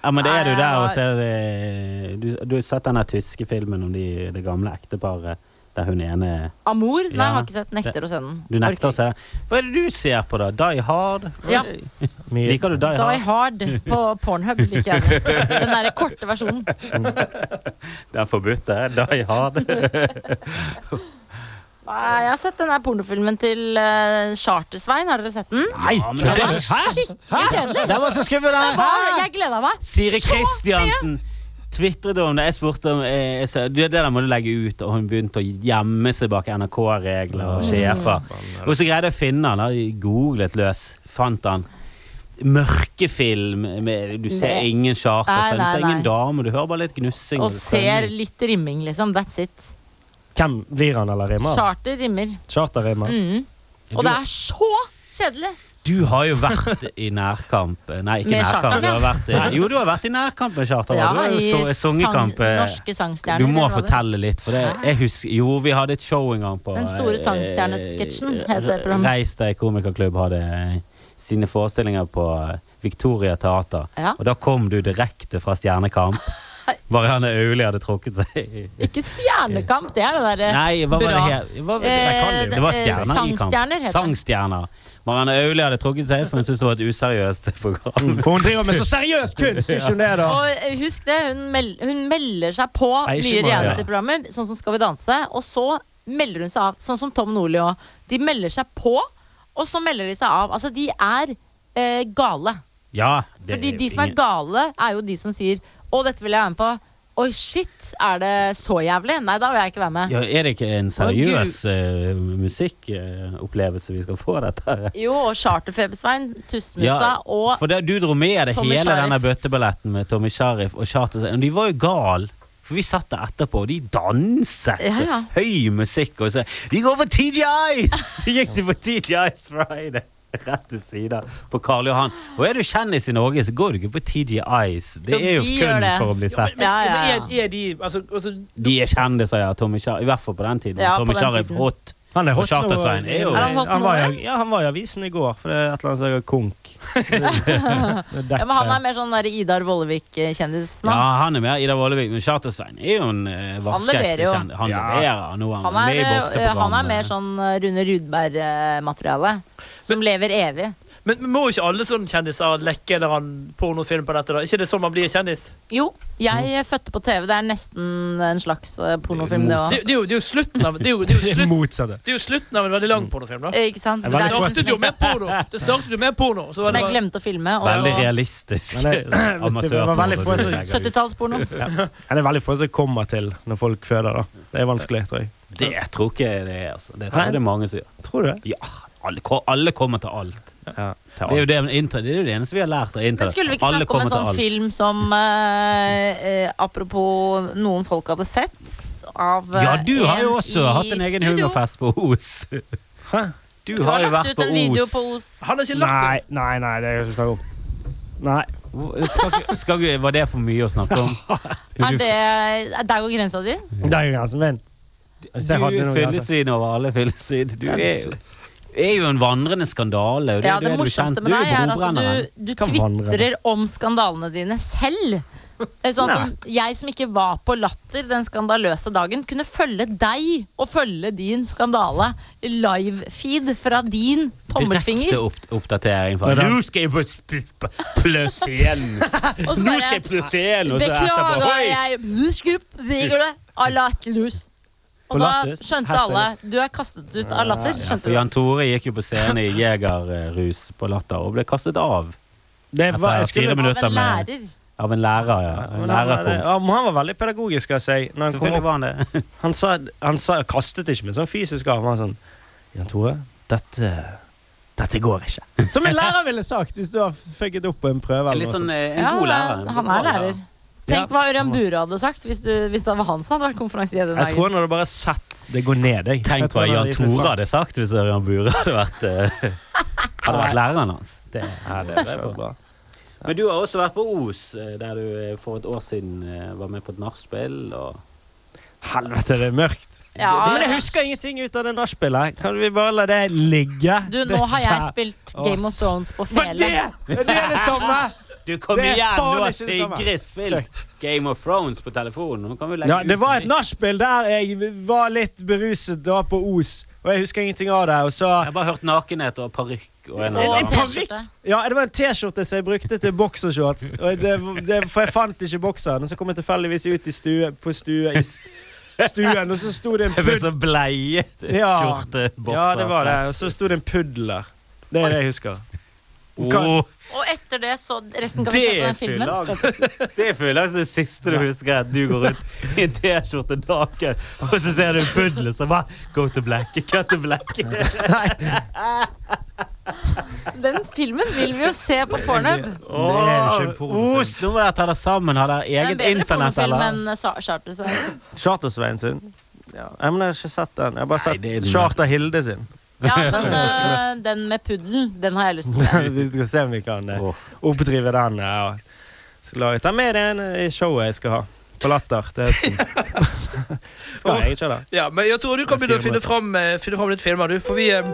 Speaker 4: Ja, men det er du der og eh,
Speaker 5: Nei,
Speaker 4: ser det. Du, du har sett den der tyske filmen om de, det gamle ekteparet. der hun ene
Speaker 5: Amor? Nei,
Speaker 4: Ja.
Speaker 5: jeg har ikke sett. Nekter å sende den.
Speaker 4: Du nekter å
Speaker 5: Orker
Speaker 4: se den. Hva er det du ser på, da? Die Hard?
Speaker 5: ikke. Ja.
Speaker 6: Mye.
Speaker 4: Liker du Die
Speaker 5: Die
Speaker 4: Hard?
Speaker 5: Hard på Pornhub liker jeg det. Den derre korte versjonen.
Speaker 4: Den forbudte? Die Hard?
Speaker 5: Nei, jeg har sett den der pornofilmen til eh, Charter-Svein. Har dere sett den?
Speaker 4: Nei, kødder
Speaker 5: det var
Speaker 4: du? Hæ?
Speaker 5: skikkelig kjedelig.
Speaker 4: Den var så skummel, den!
Speaker 5: Hva? Jeg gleda meg.
Speaker 4: Siri
Speaker 5: så mye.
Speaker 4: Kristiansen tvitret om det. Jeg spurte om eh, jeg sa, du, Det der må du legge ut, og hun begynte å gjemme seg bak NRK-regler og sjefer. Og så greide jeg å finne han, da. Jeg googlet løs. Fant han. Mørkefilm. Med, du ser
Speaker 5: Nei.
Speaker 4: ingen charter,
Speaker 5: Nei,
Speaker 4: så du
Speaker 5: nei,
Speaker 4: ser ingen
Speaker 5: nei.
Speaker 4: dame. Du hører bare litt gnussing.
Speaker 5: Og
Speaker 4: du
Speaker 5: ser
Speaker 4: stemmer.
Speaker 5: litt rimming, liksom. That's it.
Speaker 6: Hvem blir han eller rimer? han?
Speaker 5: Charter rimmer.
Speaker 6: Charter-rimer.
Speaker 5: Mm. Og det er så kjedelig.
Speaker 4: Du har jo vært i nærkamp eh, Nei, ikke
Speaker 5: Med
Speaker 4: nærkamp.
Speaker 5: charter,
Speaker 4: Du har
Speaker 5: ja.
Speaker 4: vært, i- jo, du har vært i nærkamp med charter.
Speaker 5: Ja,
Speaker 4: du har
Speaker 5: i
Speaker 4: jo så,
Speaker 5: sang,
Speaker 4: sungekamp. eh,
Speaker 5: norske sangstjerner.
Speaker 4: Du må
Speaker 5: eller hva det-
Speaker 4: fortelle litt, for det, jeg husker Jo, vi hadde et show en gang på
Speaker 5: Den store
Speaker 4: eh,
Speaker 5: sangstjernesketsjen,
Speaker 4: eh,
Speaker 5: heter det programmet.
Speaker 4: Reis deg komikerklubb hadde eh, sine forestillinger på eh, Victoria Teater.
Speaker 5: Ja.
Speaker 4: Og da kom du direkte fra Stjernekamp. Marianne Aulie hadde trukket seg.
Speaker 5: Ikke Stjernekamp, det er det derre
Speaker 4: Nei, hva var det
Speaker 5: bra.
Speaker 4: her? Hva, det,
Speaker 5: Eh,
Speaker 4: kan du. det var
Speaker 5: eh,
Speaker 4: stjerner i kamp.
Speaker 5: Sangstjerner heter det.
Speaker 4: Sangstjerner. Marianne Aulie hadde trukket seg, for hun syntes det var et useriøst program.
Speaker 6: For hun driver med så seriøs kunst! Ikke hun det, da?
Speaker 5: Og eh, husk det, hun, mel hun melder seg på
Speaker 6: Nei, ikke
Speaker 5: nye
Speaker 6: bare-
Speaker 5: realityprogrammer, sånn som Skal vi danse, og så melder hun seg av. Sånn som Tom Nordli òg. De melder seg på, og så melder de seg av. Altså, de er eh, gale.
Speaker 4: Ja, det
Speaker 5: Fordi
Speaker 4: jo
Speaker 5: de som er
Speaker 4: ingen-
Speaker 5: gale, er jo de som sier 'Å, dette vil jeg være med på'. Oi, shit, er det så jævlig? Nei, da vil jeg ikke være med.
Speaker 4: ja, Er det ikke en seriøs eh, musikkopplevelse vi skal få, dette? her?
Speaker 5: Jo, og Charterfeber-Svein, Tussmusa
Speaker 4: Ja,
Speaker 5: og
Speaker 4: for det, du dro med deg
Speaker 5: Tommy
Speaker 4: hele
Speaker 5: Sharif.
Speaker 4: denne bøtteballetten med Tommy Sharif og Charter. Og de var jo gal. For vi satt der etterpå, og de danset.
Speaker 5: Ja, ja.
Speaker 4: Høy musikk. Og så Vi går på TG Ice! Så gikk de på TG Ice Friday. Rett til siden på Karl Johan. Og er du kjendis i Norge, så går du ikke på TG Ice. Det
Speaker 5: Jo,
Speaker 4: er jo
Speaker 5: de gjør
Speaker 4: kun
Speaker 5: det.
Speaker 4: for å bli sett.
Speaker 3: Men,
Speaker 5: Ja, ja, ja.
Speaker 3: men er, er de altså, altså,
Speaker 4: De er kjendiser, ja. Tommy Sharif. I hvert fall på den tiden.
Speaker 5: Ja,
Speaker 4: Tommy
Speaker 5: på den
Speaker 4: Sharif
Speaker 5: tiden.
Speaker 4: hot.
Speaker 6: Han er
Speaker 4: Og
Speaker 6: hot nå.
Speaker 4: Charter-Svein er jo-
Speaker 5: Er han hot nå,
Speaker 6: var i,
Speaker 5: eller?
Speaker 6: ja, han var i avisen i går, for det er et eller annet som heter Konk.
Speaker 5: ja, Men han er mer sånn der Idar Vollevik-kjendis nå.
Speaker 4: Ja, han er med. Ida Vollevik. Men Charter-Svein er jo en eh, vaskeekte
Speaker 5: leverer jo.
Speaker 4: kjendis. Han
Speaker 6: Ja.
Speaker 4: leverer nå. er
Speaker 5: Han
Speaker 4: med i
Speaker 5: er, eh, han er
Speaker 4: bokseprogrammet.
Speaker 5: mer sånn eh, Rune Rudberg-materiale. Som lever evig.
Speaker 3: men må ikke alle sånne kjendiser lekke en eller annen pornofilm på dette? da? Ikke det sånn man blir kjendis?
Speaker 5: Jo, jeg eh, fødte på TV. Det er nesten en slags eh, pornofilm, det
Speaker 3: Det,
Speaker 5: òg.
Speaker 3: det, er jo, det er jo slutten av Det er jo, det er jo, slutt,
Speaker 6: motsatte.
Speaker 3: det er jo slutten av en veldig lang pornofilm, da.
Speaker 5: Eh, Ikke sant?
Speaker 3: Det
Speaker 6: Jeg var
Speaker 5: Det er
Speaker 3: startet jo med porno! Det startet jo med porno. Så var
Speaker 5: Som
Speaker 3: det
Speaker 5: jeg
Speaker 3: bare,
Speaker 5: glemte å filme. og
Speaker 4: Veldig
Speaker 5: så-
Speaker 4: realistisk.
Speaker 6: Men det- det var veldig få som-
Speaker 5: Altså, 70-tallsporno.
Speaker 6: Ja, det er veldig få som kommer til når folk føder, da. Det er vanskelig, tror jeg.
Speaker 4: Det tror ikke jeg det er. Altså. Det tror
Speaker 6: Nei.
Speaker 4: jeg det er mange som gjør.
Speaker 6: Tror du det?
Speaker 4: Ja, alle, ko- alle kommer til alt.
Speaker 6: Ja.
Speaker 4: Det er jo det, inter, det, er jo det eneste vi har lært av
Speaker 5: Men
Speaker 4: internett.
Speaker 5: skulle vi ikke
Speaker 4: Alle
Speaker 5: snakke om en
Speaker 4: kommer til
Speaker 5: sånn
Speaker 4: alt.
Speaker 5: film som eh, eh, Apropos noen folk hadde sett. Av eh,
Speaker 4: Ja, du har jo
Speaker 5: en
Speaker 4: også
Speaker 5: i
Speaker 4: hatt en egen
Speaker 5: studio.
Speaker 4: humorfest på Os.
Speaker 6: Hæ?
Speaker 4: Du
Speaker 5: Du
Speaker 4: har
Speaker 5: har
Speaker 4: jo
Speaker 5: lagt
Speaker 4: vært
Speaker 5: ut en video på
Speaker 4: på Os.
Speaker 5: Os.
Speaker 3: han har ikke lagt
Speaker 6: Nei, nei, nei, det kan vi ikke snakke om. Nei.
Speaker 4: Skal, ikke- skal, ikke- var det for mye å snakke om?
Speaker 5: Er det, er der går grensa di?
Speaker 6: Det er jo grensen min.
Speaker 4: Du
Speaker 6: Hvis jeg hadde altså.
Speaker 4: er
Speaker 6: noen grenser.
Speaker 4: fyllesvin over alle fyllesvin. Du er jo, er jo en vandrende skandale. Og det,
Speaker 5: Ja,
Speaker 4: er
Speaker 5: det
Speaker 4: du
Speaker 5: morsomste
Speaker 4: kjent.
Speaker 5: med deg
Speaker 4: du er
Speaker 5: er
Speaker 4: jo brobrenneren.
Speaker 5: at du, du
Speaker 6: Kan vandre.
Speaker 5: tvitrer om skandalene dine selv. Det er Sånn at jeg som ikke var på Latter den skandaløse dagen, kunne følge deg og følge din skandale live-feed fra din
Speaker 4: Direkte
Speaker 5: tommelfinger.
Speaker 4: opp, oppdatering. fra-
Speaker 6: Hva da?
Speaker 4: skal jeg på sp- p- pløsse igjen!
Speaker 5: Og så bare
Speaker 4: pløsse igjen! og så etterpå,
Speaker 5: Beklager,
Speaker 4: «Oi!»
Speaker 5: jeg Skup, digger det. Av latterlus.
Speaker 6: På
Speaker 5: Og da
Speaker 6: Latters
Speaker 5: skjønte
Speaker 6: hashtag.
Speaker 5: alle Du er kastet ut av latter.
Speaker 4: Ja, for
Speaker 5: Skjønte du?
Speaker 4: Jan Tore gikk jo på scenen i jegerrus på Latter og ble kastet av
Speaker 6: Det
Speaker 4: etter
Speaker 6: var, jeg skulle
Speaker 4: fire
Speaker 5: Av
Speaker 4: minutter
Speaker 5: en
Speaker 4: med,
Speaker 5: lærer.
Speaker 4: av en lærer. Ja. En
Speaker 6: Men han,
Speaker 4: lærerkomp.
Speaker 6: ja, men han var veldig pedagogisk av seg. Når han, kom
Speaker 4: Selvfølgelig
Speaker 6: opp,
Speaker 4: var han det.
Speaker 6: han, sa, han sa, kastet ikke med sånn fysisk arm. Han var sånn Jan Tore, dette, dette går ikke. Som en lærer ville sagt hvis du har fucket opp på en prøve.
Speaker 4: Litt sånn, eh, en
Speaker 5: Ja,
Speaker 4: god lærer. En
Speaker 5: han
Speaker 4: bra
Speaker 5: er lærer. Tenk hva Ørjan Bure hadde sagt hvis, du, hvis det var han som hadde vært konferansier den
Speaker 6: Jeg tror
Speaker 5: dagen.
Speaker 6: han hadde bare sett det gå ned. Jeg. Jeg
Speaker 4: Tenk
Speaker 6: tror
Speaker 4: hva
Speaker 6: han
Speaker 4: Jan
Speaker 6: hadde gitt et
Speaker 4: Tore
Speaker 6: slag.
Speaker 4: hadde sagt hvis Ørjan Bure hadde vært eh, Hadde vært læreren hans. Det.
Speaker 6: Ja, det ble jo bra.
Speaker 4: Men du har også vært på Os, eh, der du eh, for et år siden eh, var med på et nachspiel. og-
Speaker 6: sånn, Helvete, det er mørkt.
Speaker 5: Ja,
Speaker 6: Men jeg husker ingenting ut av det nachspielet. Kan vi bare la det ligge?
Speaker 5: Du, nå har jeg spilt Game of Thrones på
Speaker 6: Var det
Speaker 5: fele.
Speaker 6: er det det samme?
Speaker 4: Du, kom
Speaker 6: Det er
Speaker 4: igjen!
Speaker 6: faen
Speaker 4: Nå har
Speaker 6: ikke det samme.
Speaker 4: Sigrid spilt Game of Thrones på telefonen. Nå kan vi legge
Speaker 6: Ja, det
Speaker 4: ut
Speaker 6: var
Speaker 4: en
Speaker 6: et
Speaker 4: ny-
Speaker 6: nachspiel der jeg var litt beruset da på Os, og jeg husker ingenting av det. Og så
Speaker 4: Jeg har bare hørt nakenhet og parykk og en
Speaker 5: Og
Speaker 4: eller
Speaker 5: en
Speaker 4: annen.
Speaker 5: T-skjorte.
Speaker 6: Ja, det var en T-skjorte som jeg brukte til boksershorts, og det, det, for jeg fant ikke bokseren. Og så kom jeg tilfeldigvis ut i stue, på stue, i s- stuen, og så sto det sånn
Speaker 4: Jeg
Speaker 6: en
Speaker 4: ble
Speaker 6: puddel
Speaker 4: så bleiet.
Speaker 6: Ja.
Speaker 4: Skjorte, bokser
Speaker 6: Ja, det var det. Og så sto det en puddel der. Det er det jeg husker.
Speaker 4: Oh,
Speaker 5: Og etter det så Resten kan vi
Speaker 4: det
Speaker 5: se på den filmen.
Speaker 4: er fylleangst det siste du husker, er at du går ut i en T-skjorte naken, og så ser du en puddel som bare Go to black, cut to black.
Speaker 5: Den filmen vil vi jo se på pornhub.
Speaker 6: jo ikke en pornofilm.
Speaker 4: Os, nå må dere ta dere sammen. Har dere
Speaker 5: Det er en
Speaker 4: eget
Speaker 5: bedre
Speaker 4: internett,
Speaker 5: pornofilm
Speaker 4: eller?
Speaker 5: enn eh, Sa- Charter. Så.
Speaker 6: Charter-Svein sin. Ja. Jeg, men jeg har ikke sett den. Jeg har bare
Speaker 4: Nei, det er
Speaker 6: sett
Speaker 4: den.
Speaker 6: Charter-Hilde sin.
Speaker 5: Ja, den, eh, den med puddelen, den har jeg lyst til å se.
Speaker 6: vi skal se om vi kan eh,
Speaker 4: Åh.
Speaker 6: oppdrive den. Ja. og Skal lage, ta med den eh, i showet jeg skal ha på Latter til høsten. skal jeg ikke det?
Speaker 3: Ja, men jeg tror du kan begynne å finne fram, eh, finne fram litt filmer, du. For vi eh,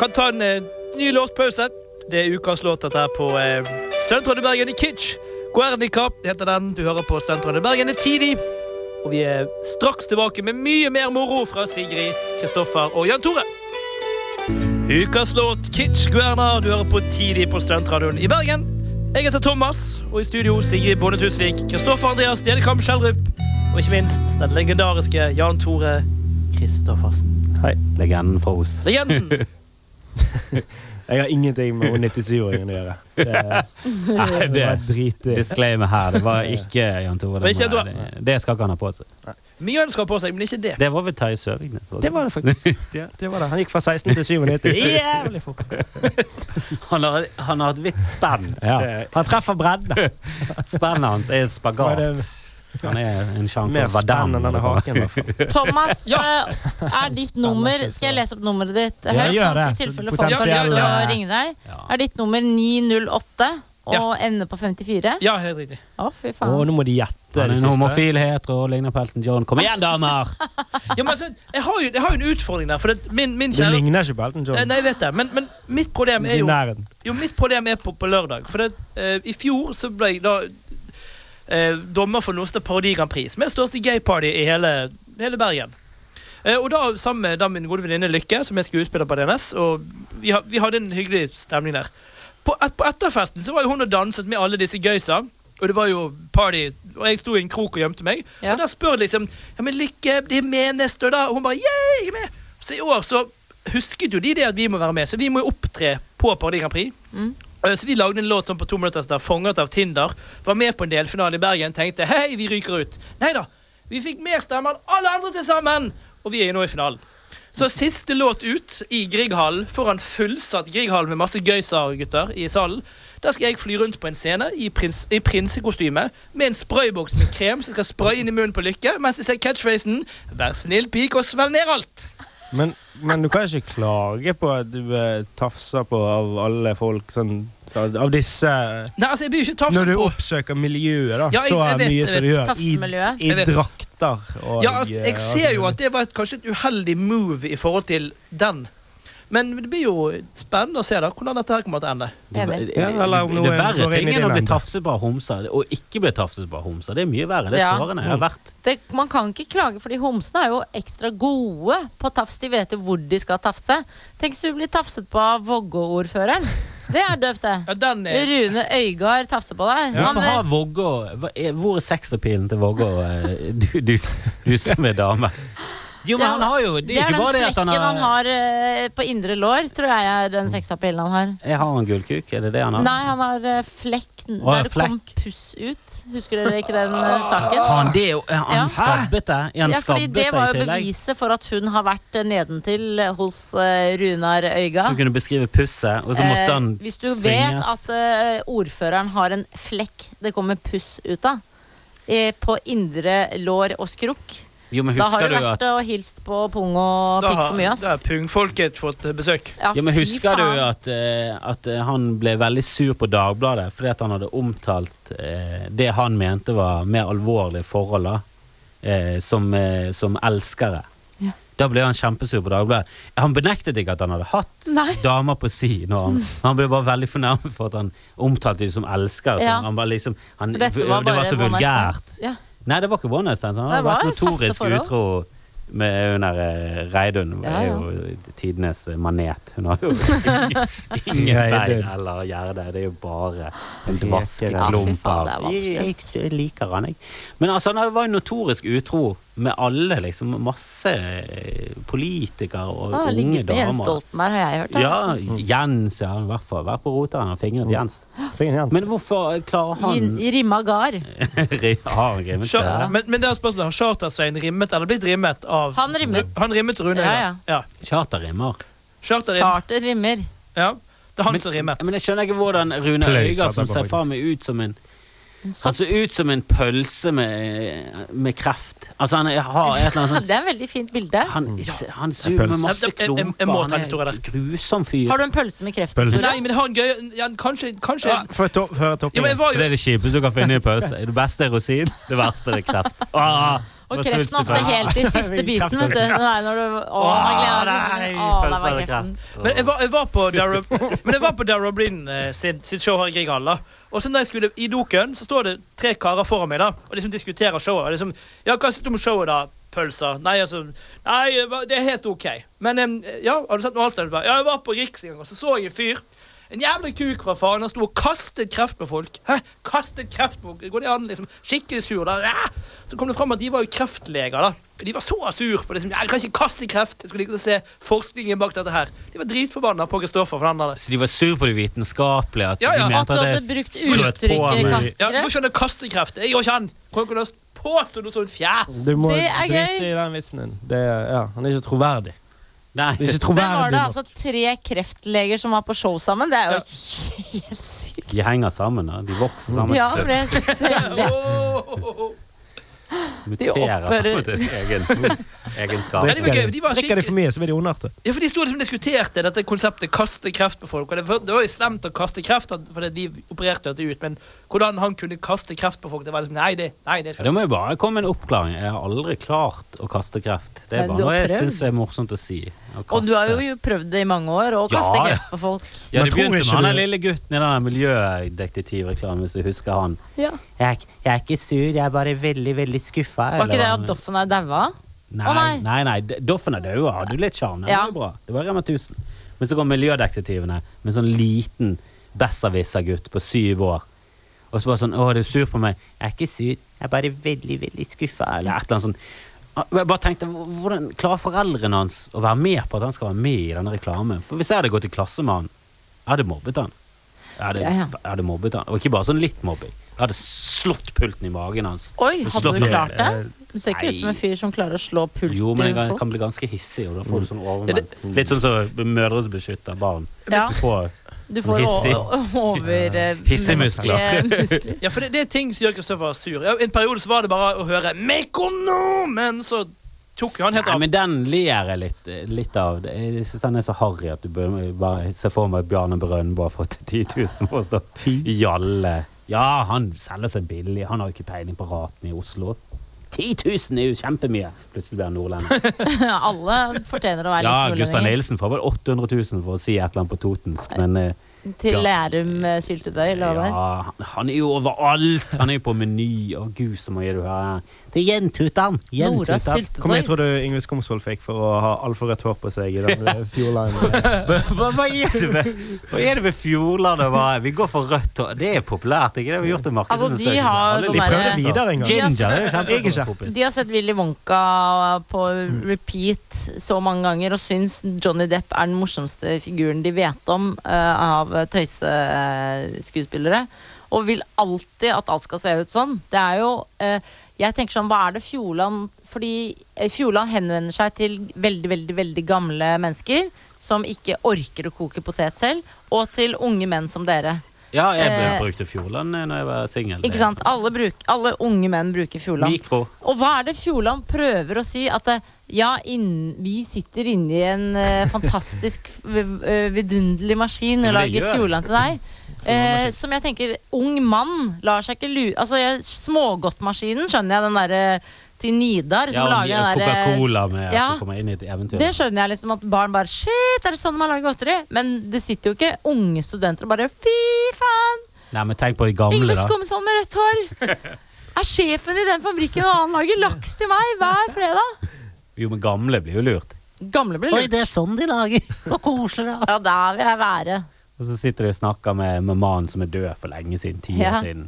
Speaker 3: kan ta en eh, ny låtpause. Det er ukas låt dette her på eh, Stuntrådet Bergen i Kitsch. Guernica heter den. Du hører på Stuntrådet Bergen i tidlig. Og vi er straks tilbake med mye mer moro fra Sigrid, Kristoffer og Jan Tore. Ukas låt Kitsch Guerna. Du hører på tidlig på Stuntradioen i Bergen. Jeg heter Thomas, og i studio Sigrid Bonde Tusvik, Kristoffer Andreas Dedekam Skjelrup og ikke minst den legendariske Jan Tore Kristoffersen.
Speaker 4: Legenden fra Os.
Speaker 3: Legenden!
Speaker 6: Jeg har ingenting med hun 97-åringen å gjøre. Det,
Speaker 4: Nei,
Speaker 6: det
Speaker 4: det
Speaker 6: var dritdig.
Speaker 4: Disclaimer her. Det var ikke Jan Tore.
Speaker 3: Men ikke
Speaker 4: Det, må
Speaker 3: du-
Speaker 4: jeg- det- det skal ikke han ha på seg.
Speaker 3: Mye han skal ha på seg, men ikke det.
Speaker 4: Det var vel Terje Søvignes?
Speaker 6: Det var det faktisk. Det, det var det. Han gikk fra 16 til 97. Jævlig fort.
Speaker 4: Han har, han har et vidt spenn.
Speaker 6: Det- Han treffer bredden.
Speaker 4: Spennet hans er et
Speaker 6: Hva er
Speaker 4: spagat.
Speaker 6: det-
Speaker 4: Han er en
Speaker 6: Mer
Speaker 4: Jean-Claude
Speaker 6: spenn
Speaker 4: Vadam.
Speaker 6: enn denne haken. i hvert fall.
Speaker 5: Thomas, eh, er ditt nummer Skal jeg lese opp nummeret ditt?
Speaker 6: Ja,
Speaker 5: høyt,
Speaker 6: gjør
Speaker 5: sånn at
Speaker 6: det, eh,
Speaker 5: I
Speaker 6: så
Speaker 5: tilfelle folk har lyst
Speaker 3: potensielle-
Speaker 5: til å ringe deg.
Speaker 4: Ja.
Speaker 5: Er ditt nummer 908 og
Speaker 3: Ja.
Speaker 5: ender på 54?
Speaker 3: Ja, helt riktig.
Speaker 5: Å, fy
Speaker 6: Å,
Speaker 5: faen.
Speaker 6: nå må de gjette.
Speaker 4: Han er
Speaker 6: det
Speaker 4: en
Speaker 6: siste.
Speaker 4: homofil hetero og ligner på Elton John. Kom igjen, damer!
Speaker 3: Ja, men, altså, jeg, har jo, jeg har jo en utfordring der, for det, min, min
Speaker 6: Det
Speaker 3: kjære
Speaker 6: ligner ikke på Elton John.
Speaker 3: Eh, Nei, jeg vet det, men, men mitt problem
Speaker 6: Ikke
Speaker 3: er
Speaker 6: i
Speaker 3: jo
Speaker 6: nærheten.
Speaker 3: Jo, mitt problem er på, på lørdag. For det, eh, i fjor så ble jeg da eh, dommer for Norske Parodi Grand Prix, som er det største gayparty i hele, hele Bergen. Eh, og da sammen med da min gode venninne Lykke, som er skuespiller på DNS, og vi, ha, vi hadde en hyggelig stemning der. På, et, på etterfesten så var jo hun og danset med alle disse gøysa. Og det var jo party, og jeg sto i en krok og gjemte meg.
Speaker 5: Ja.
Speaker 3: Og der spør de liksom Ja, men Lykke, blir med neste år, da? Og hun bare Yeah, jeg er med! Så i år så husket jo de det at vi må være med, så vi må jo opptre på Parodi Grand Prix. Eh, Så vi lagde en låt sånn på to minutter der, 'Fanget av Tinder'. Var med på en delfinale i Bergen, tenkte 'hei, vi ryker ut'. Nei da, vi fikk mer stemmer enn alle andre til sammen! Og vi er jo nå i finalen. Så siste låt ut i Grieghallen, foran fullsatt Grieghallen med masse Gøysar-gutter i salen. Der skal jeg fly rundt på en scene i, prins, i prinsekostyme med en sprayboks med krem som skal spraye inn i munnen på Lykke, mens jeg ser catchphrasen 'Vær snill, pike, og svelg ned alt'.
Speaker 6: Men, men du kan ikke klage på at du eh, tafser på av alle folk sånn, så- Av disse
Speaker 3: Nei, altså, jeg blir jo ikke tafset
Speaker 6: Når du
Speaker 3: på.
Speaker 6: oppsøker miljøet, da,
Speaker 3: Ja, jeg-
Speaker 6: så
Speaker 3: jeg vet,
Speaker 6: mye
Speaker 3: jeg
Speaker 6: som du gjør
Speaker 5: Tafsemiljøet.
Speaker 6: i,
Speaker 3: Jeg
Speaker 6: i
Speaker 3: vet.
Speaker 6: drakter og
Speaker 3: Ja, altså, jeg
Speaker 6: eh,
Speaker 3: ser jo at det var et, kanskje et uheldig move i forhold til den. Men det blir jo spennende å se da hvordan dette her kommer til å ende.
Speaker 5: Enig.
Speaker 6: Ja, eller om
Speaker 4: det
Speaker 6: noen
Speaker 4: verre
Speaker 6: går inn
Speaker 4: ting
Speaker 6: i
Speaker 4: enn
Speaker 6: din
Speaker 4: å bli
Speaker 6: ende.
Speaker 4: tafset på av homser, og ikke bli tafset på av homser. Det er mye verre. Det er
Speaker 5: Ja.
Speaker 4: sårende. Jeg har vært
Speaker 5: Det, man kan ikke klage, fordi homsene er jo ekstra gode på tafs. De vet jo hvor de skal tafse. Tenk hvis du blir tafset på av Vågå-ordføreren. Det er døvt, det.
Speaker 3: Ja, den er
Speaker 5: Rune Øygard tafser på deg. Han eh,
Speaker 4: Hvorfor
Speaker 5: vet-
Speaker 4: har Vågå hva er- Hvor er sexappealen til Vågå, eh, du, du, du som er dame? Jo, men
Speaker 5: Ja,
Speaker 4: han har jo Det er ikke
Speaker 5: den
Speaker 4: bare det at han
Speaker 5: strekken han
Speaker 4: har
Speaker 5: har eh, på indre lår, tror jeg er den sexapillen han har.
Speaker 4: Jeg har en gullkuk, er det det han har?
Speaker 5: Nei, han har eh, flekk n-
Speaker 4: Å,
Speaker 5: der det kom puss ut. Husker dere ikke den eh, saken?
Speaker 4: Har han det? Er
Speaker 5: Ja.
Speaker 4: han skabbet det? Er han
Speaker 5: ja, fordi
Speaker 4: skabbet det
Speaker 5: Det
Speaker 4: i
Speaker 5: var jo
Speaker 4: tillegg?
Speaker 5: beviset for at hun har vært eh, nedentil eh, hos eh, Runar Øyga.
Speaker 4: Han kunne beskrive pusset, og så måtte han
Speaker 5: Eh, Hvis du vet
Speaker 4: tvinges.
Speaker 5: at eh, ordføreren har en flekk det kommer puss ut av, eh, på indre lår og skrukk,
Speaker 4: Jo, men
Speaker 5: da har
Speaker 4: husker
Speaker 5: du
Speaker 4: du at
Speaker 5: vært og hilst på pung og
Speaker 3: Da
Speaker 5: pikk for mye,
Speaker 3: har, da har
Speaker 5: ass.
Speaker 3: pungfolket fått eh, besøk.
Speaker 4: ja, men
Speaker 5: fy
Speaker 4: husker du
Speaker 5: faen.
Speaker 4: at, eh, at eh, han ble veldig sur på Dagbladet fordi at han hadde omtalt eh, det han mente var mer alvorlige forhold da, eh, som, eh, som elskere?
Speaker 5: Ja.
Speaker 4: Da ble han kjempesur på Dagbladet. Han benektet ikke at han hadde hatt
Speaker 5: Nei.
Speaker 4: damer på si. Når han, han ble bare veldig fornærmet for at han omtalte dem som elsker.
Speaker 5: Ja.
Speaker 4: Sånn. Han var liksom, han,
Speaker 5: For
Speaker 4: det,
Speaker 5: dette
Speaker 4: var
Speaker 5: bare
Speaker 4: så
Speaker 5: one night
Speaker 4: vulgært.
Speaker 5: stand. Ja.
Speaker 4: Nei, det var ikke one night stand. Han
Speaker 5: Det
Speaker 4: hadde
Speaker 5: var
Speaker 4: vært
Speaker 5: faste
Speaker 4: notorisk
Speaker 5: forhold.
Speaker 4: utro med hun der eh, Reidun. Hun
Speaker 5: Ja,
Speaker 4: er
Speaker 5: ja.
Speaker 4: jo tidenes eh, manet. Hun har jo ingen bein
Speaker 6: Reidun.
Speaker 4: eller gjerde. Det er jo bare en dvask
Speaker 6: Heter det.
Speaker 5: Ja, fy
Speaker 4: klump
Speaker 5: faen, det er
Speaker 4: av
Speaker 5: vanskelig,
Speaker 4: Jeg
Speaker 5: ass.
Speaker 4: jeg liker han, jeg. Men altså, han var jo notorisk utro med alle, liksom. Masse eh, politikere og
Speaker 5: Ah,
Speaker 4: unge
Speaker 5: ligget med Jens
Speaker 4: damer.
Speaker 5: Stoltenberg, har jeg hørt. da.
Speaker 4: Ja, Jens, ja. I hvert fall. Vær på roteren og fingret Jens.
Speaker 6: Fingeren i hans.
Speaker 4: Men hvorfor eh, klarer
Speaker 5: I,
Speaker 4: han Ah,
Speaker 5: I rimma gard.
Speaker 4: Har han grimt
Speaker 3: Sjå-
Speaker 4: det?
Speaker 3: Men, men det er spørsmålet, har Charter-Svein rimmet eller blitt rimmet av
Speaker 5: Han rimmet.
Speaker 3: Han rimmet Rune
Speaker 5: Ja,
Speaker 3: Øyre. Ja.
Speaker 4: Charterrimmer.
Speaker 3: Charter rim.
Speaker 5: Charter rimmer.
Speaker 3: Ja. Det er han
Speaker 4: Men,
Speaker 3: som rimmet.
Speaker 4: men jeg skjønner ikke hvordan Rune
Speaker 6: Pløys
Speaker 4: Øygard, som
Speaker 6: etterpå,
Speaker 4: ser
Speaker 6: faktisk.
Speaker 4: faen meg ut som en
Speaker 5: sånn-
Speaker 4: Han ser ut som en pølse med, med kreft. Altså, han har et eller annet sånt
Speaker 5: Det er et veldig fint bilde.
Speaker 4: Han, han
Speaker 6: En
Speaker 4: suger med
Speaker 6: pølse.
Speaker 4: masse
Speaker 3: Jeg- jeg- jeg-
Speaker 4: klumper.
Speaker 3: jeg må ta en
Speaker 4: Han
Speaker 3: historie
Speaker 4: er
Speaker 3: der.
Speaker 4: en grusom fyr.
Speaker 5: Har du en pølse med kreft?
Speaker 6: Pølse.
Speaker 5: Tore?
Speaker 3: Nei, men det har en gøy ja, Kanskje, kanskje
Speaker 6: Ja, Før to- før
Speaker 3: Ja, men
Speaker 6: toppingen.
Speaker 3: jeg var jo
Speaker 4: det kjipeste du kan finne i en pølse. Det beste er rosin, det verste er kreft. Ah,
Speaker 5: Og kreften ofte helt i siste biten, vet du. Nei, når du Å, jeg gleder
Speaker 4: Ah,
Speaker 5: meg. Å, der var kreften.
Speaker 3: Men jeg var, jeg var på Dara, men jeg var på Dara Bryn eh, sitt, sitt show her i Grieghallen. da. Og så når jeg skulle i doken, så står det tre karer foran meg da, og liksom diskuterer showet. Og liksom, ja, hva synes du om showet da, pølser? Nei, altså, nei, det var- det er helt ok. Men em, ja, har du sett noe annet sted? Ja, jeg var på Riks en gang, og så så jeg en fyr. En jævla kuk fra faen, han sto og kastet kreft på folk. Hæ? Kastet kreft på folk? Går det an? liksom, Skikkelig sur. da. Ja! Så kom det fram at de var jo kreftleger. da. De var så sur på liksom, ja, jeg kan ikke kaste kreft. Jeg skulle ikke se forskningen bak dette her. De var dritforbanna på Kristoffer. for den der.
Speaker 4: Så de var sur på det vitenskapelige? At
Speaker 3: Ja, ja.
Speaker 4: de
Speaker 5: At
Speaker 4: mente
Speaker 5: du
Speaker 4: at
Speaker 5: hadde
Speaker 4: det
Speaker 5: brukt
Speaker 4: skrøt på
Speaker 5: uttrykket
Speaker 4: med-
Speaker 5: kastet.
Speaker 3: Ja, nå skjønner jeg kastekreft. Jeg går ikke an. Kan ikke du påstå noe sånt fjas?
Speaker 6: Du må
Speaker 5: Det er gøy.
Speaker 6: drite i den vitsen din. Det, er- ja, han er ikke troverdig.
Speaker 4: Nei.
Speaker 6: Det er ikke
Speaker 5: Men var
Speaker 6: troverdig
Speaker 5: det
Speaker 6: nok.
Speaker 5: altså tre kreftleger som var på show sammen? Det er jo helt sykt.
Speaker 4: De henger sammen, da. De vokser sammen.
Speaker 5: Ja,
Speaker 4: til
Speaker 5: for
Speaker 4: slutt.
Speaker 5: det er selv-
Speaker 4: Muterer
Speaker 5: oppfører-
Speaker 4: sammen til sin egen egenskap.
Speaker 3: Ja, det var gøy. De var
Speaker 6: Drikker de
Speaker 3: skikkelig...
Speaker 6: for mye, så blir de ondartet.
Speaker 3: Ja, for De sto liksom og diskuterte dette konseptet kaste kreft på folk. og Det var, det var jo slemt å kaste kreft, fordi de opererte dette ut, men hvordan han kunne kaste kreft på folk, det var liksom Nei, det, nei, det er
Speaker 4: Ja, det må jo bare komme en oppklaring. Jeg har aldri klart å kaste kreft. Det er
Speaker 5: Men
Speaker 4: bare
Speaker 5: du har
Speaker 4: noe jeg
Speaker 5: prøvd.
Speaker 4: syns er morsomt å si. Å
Speaker 5: Og du har
Speaker 4: kaste.
Speaker 5: jo prøvd det i mange år, å
Speaker 4: Ja,
Speaker 5: kaste
Speaker 4: ja.
Speaker 5: kreft på folk.
Speaker 4: Ja,
Speaker 6: Men
Speaker 4: det
Speaker 6: tror
Speaker 4: begynte med
Speaker 6: ikke
Speaker 4: han
Speaker 6: du-
Speaker 4: der lille gutten i den der miljødetektivreklamen, hvis du husker han.
Speaker 5: Ja.
Speaker 4: Jeg, er ikke- jeg er ikke sur, jeg er bare veldig, veldig skuffa.
Speaker 5: Var ikke det at Doffen er daua?
Speaker 4: Nei,
Speaker 5: Å, nei.
Speaker 4: nei, nei, D- Doffen er død, hadde jo litt sjarm. Det
Speaker 5: Ja.
Speaker 4: var jo bra. Det var Rema 1000. Men så kom miljødetektivene med sånn liten besserwisser-gutt på syv år. Og så bare sånn 'Å, du er sur på meg?' 'Jeg er ikke sur, jeg er bare veldig, veldig skuffa', eller et eller annet sånt. Og Jeg bare tenkte, "Hvor- Hvordan klarer foreldrene hans å være med på at han skal være med i denne reklamen? For Hvis jeg hadde gått i klasse med han, jeg hadde mobbet han. Jeg hadde,
Speaker 5: Ja, ja.
Speaker 4: Jeg hadde mobbet han. Og ikke bare sånn litt mobbing. Jeg hadde slått pulten i magen hans.
Speaker 5: Oi,
Speaker 4: Og
Speaker 5: hadde
Speaker 4: slått
Speaker 5: du
Speaker 4: ned.
Speaker 5: klart det? Du ser ikke ut
Speaker 4: Eh, Nei.
Speaker 5: som en fyr som klarer å slå pulten
Speaker 4: Jo, men jeg
Speaker 5: i
Speaker 4: kan,
Speaker 5: folk.
Speaker 4: kan bli ganske hissig, og da
Speaker 5: Mm.
Speaker 4: får du sånn overmenn. Litt sånn som mødre som beskytter barn.
Speaker 5: Ja.
Speaker 4: Du får
Speaker 5: Du får
Speaker 4: Hissig.
Speaker 5: o- over eh,
Speaker 4: Hissige muskler.
Speaker 5: menneskelige muskler.
Speaker 3: Ja, for det, det er ting som gjør Kristoffer sur. Ja, I en periode så var det bare å høre 'Mekonomen', så tok jo han helt
Speaker 4: Nei,
Speaker 3: av.
Speaker 4: men den ler jeg litt, litt av. Det- Jeg syns den er så harry at du bør bare se for meg Bjarne Brøndbo har fått 10 000 for å stå Jalle. Ja, han selger seg billig. Han har jo ikke peiling på ratene i Oslo. 10 000 er jo kjempemye! Plutselig blir han nordlending.
Speaker 5: Alle fortjener å være
Speaker 4: Ja,
Speaker 5: litt
Speaker 4: Gustav
Speaker 5: nordlendinger.
Speaker 4: Nilsen får vel 800 000 for å si et eller annet på totensk, men eh,
Speaker 5: Til
Speaker 4: Ja.
Speaker 5: Lærum eh, syltetøy, lover jeg.
Speaker 4: Ja, han- han er jo overalt! Han er jo på Meny. Å, gud, så mye du har. Det er Jentutan!
Speaker 5: Nora
Speaker 4: Jentutan.
Speaker 6: Hvor mye
Speaker 5: syltetøy.
Speaker 6: tror du Yngve Skomsvold fikk for å ha altfor rødt hår på seg i den eh, fjordlinen?
Speaker 4: Hva, hva er det med, hva er det med Fjordland og hva Vi går for rødt hår. Det er populært, ikke det? Vi har gjort en
Speaker 5: Altså, de
Speaker 4: markedsundersøkelse.
Speaker 5: har
Speaker 4: Alle
Speaker 5: sånn
Speaker 4: liker rødt hår.
Speaker 5: derre-
Speaker 6: Prøv det videre en gang.
Speaker 4: Ginger det er jo
Speaker 6: Jeg ikke.
Speaker 4: kjempekompis.
Speaker 5: De har sett Willy Wonka på repeat så mange ganger og syns Johnny Depp er den morsomste figuren de vet om eh, av tøyseskuespillere. Og vil alltid at alt skal se ut sånn. Det er jo eh, Jeg tenker sånn, hva er det Fjordland Fordi eh, Fjordland henvender seg til veldig, veldig, veldig gamle mennesker som ikke orker å koke potet selv, og til unge menn som dere.
Speaker 4: Ja, jeg
Speaker 5: Eh,
Speaker 4: ble- brukte Fjordland eh, når jeg var singel.
Speaker 5: Ikke sant? Alle, bruk, alle unge menn bruker Fjordland.
Speaker 4: Mikro.
Speaker 5: Og hva er det Fjordland prøver å si? At det, ja, inn, vi sitter inne i en eh, fantastisk v- eh, vidunderlig maskin og
Speaker 4: Men det
Speaker 5: lager
Speaker 4: gjør-
Speaker 5: Fjordland til deg. Eh, som jeg tenker, ung mann lar seg ikke lure Altså, jeg- smågodtmaskinen skjønner jeg, den derre til Nidar, som lager den derre
Speaker 4: Coca-Cola med at
Speaker 5: Ja.
Speaker 4: du kommer inn i et eventyr.
Speaker 5: Det skjønner jeg liksom at barn bare Shit, er det sånn man lager godteri? Men det sitter jo ikke unge studenter og bare Fy faen!
Speaker 4: Nei, men tenk på de gamle,
Speaker 5: Yngve
Speaker 4: da.
Speaker 5: Skomsvold med rødt hår! Er sjefen i den fabrikken, og han lager laks til meg hver fredag!
Speaker 4: Jo, men gamle blir jo lurt.
Speaker 5: Gamle blir lurt.
Speaker 4: det er sånn de lager! Så koselig, da.
Speaker 5: Ja, der vil jeg være.
Speaker 4: Og så sitter de og snakker med, med mannen som er død for lenge siden. Ti år
Speaker 5: Ja.
Speaker 4: siden.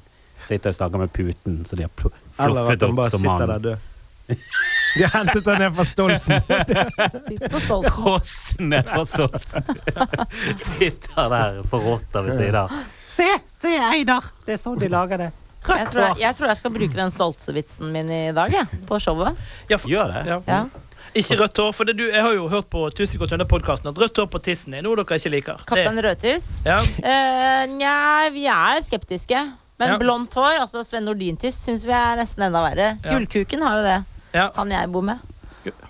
Speaker 4: Sitter og snakker med puten, så de har pl-
Speaker 6: Eller
Speaker 4: fluffet
Speaker 6: at han
Speaker 4: opp
Speaker 6: bare
Speaker 4: som
Speaker 6: sitter der
Speaker 4: mann.
Speaker 6: død. De har hentet han ned fra Stolsen.
Speaker 5: Sitter på stolten.
Speaker 4: Frosne fra stolten. sitter der forrådt ved siden av. Se, se, Einar! Det er sånn de lager det.
Speaker 5: Jeg tror jeg, jeg tror jeg skal bruke den stoltsevitsen min i dag, jeg. På showet.
Speaker 3: Ja, for,
Speaker 4: Gjør det.
Speaker 3: ja.
Speaker 5: Ja.
Speaker 3: Ikke rødt hår, for det, du, jeg har jo hørt på Tusvik og Tønne-podkasten at rødt hår på tissen er noe dere ikke liker.
Speaker 5: Kaptein Rødtiss.
Speaker 3: ja.
Speaker 5: Eh, Nja, vi er skeptiske. Men
Speaker 3: Ja.
Speaker 5: blondt hår, altså Sven Nordin-tiss, syns vi er nesten enda verre.
Speaker 3: Ja.
Speaker 5: Gullkuken har jo det.
Speaker 3: Ja.
Speaker 5: Han jeg bor med.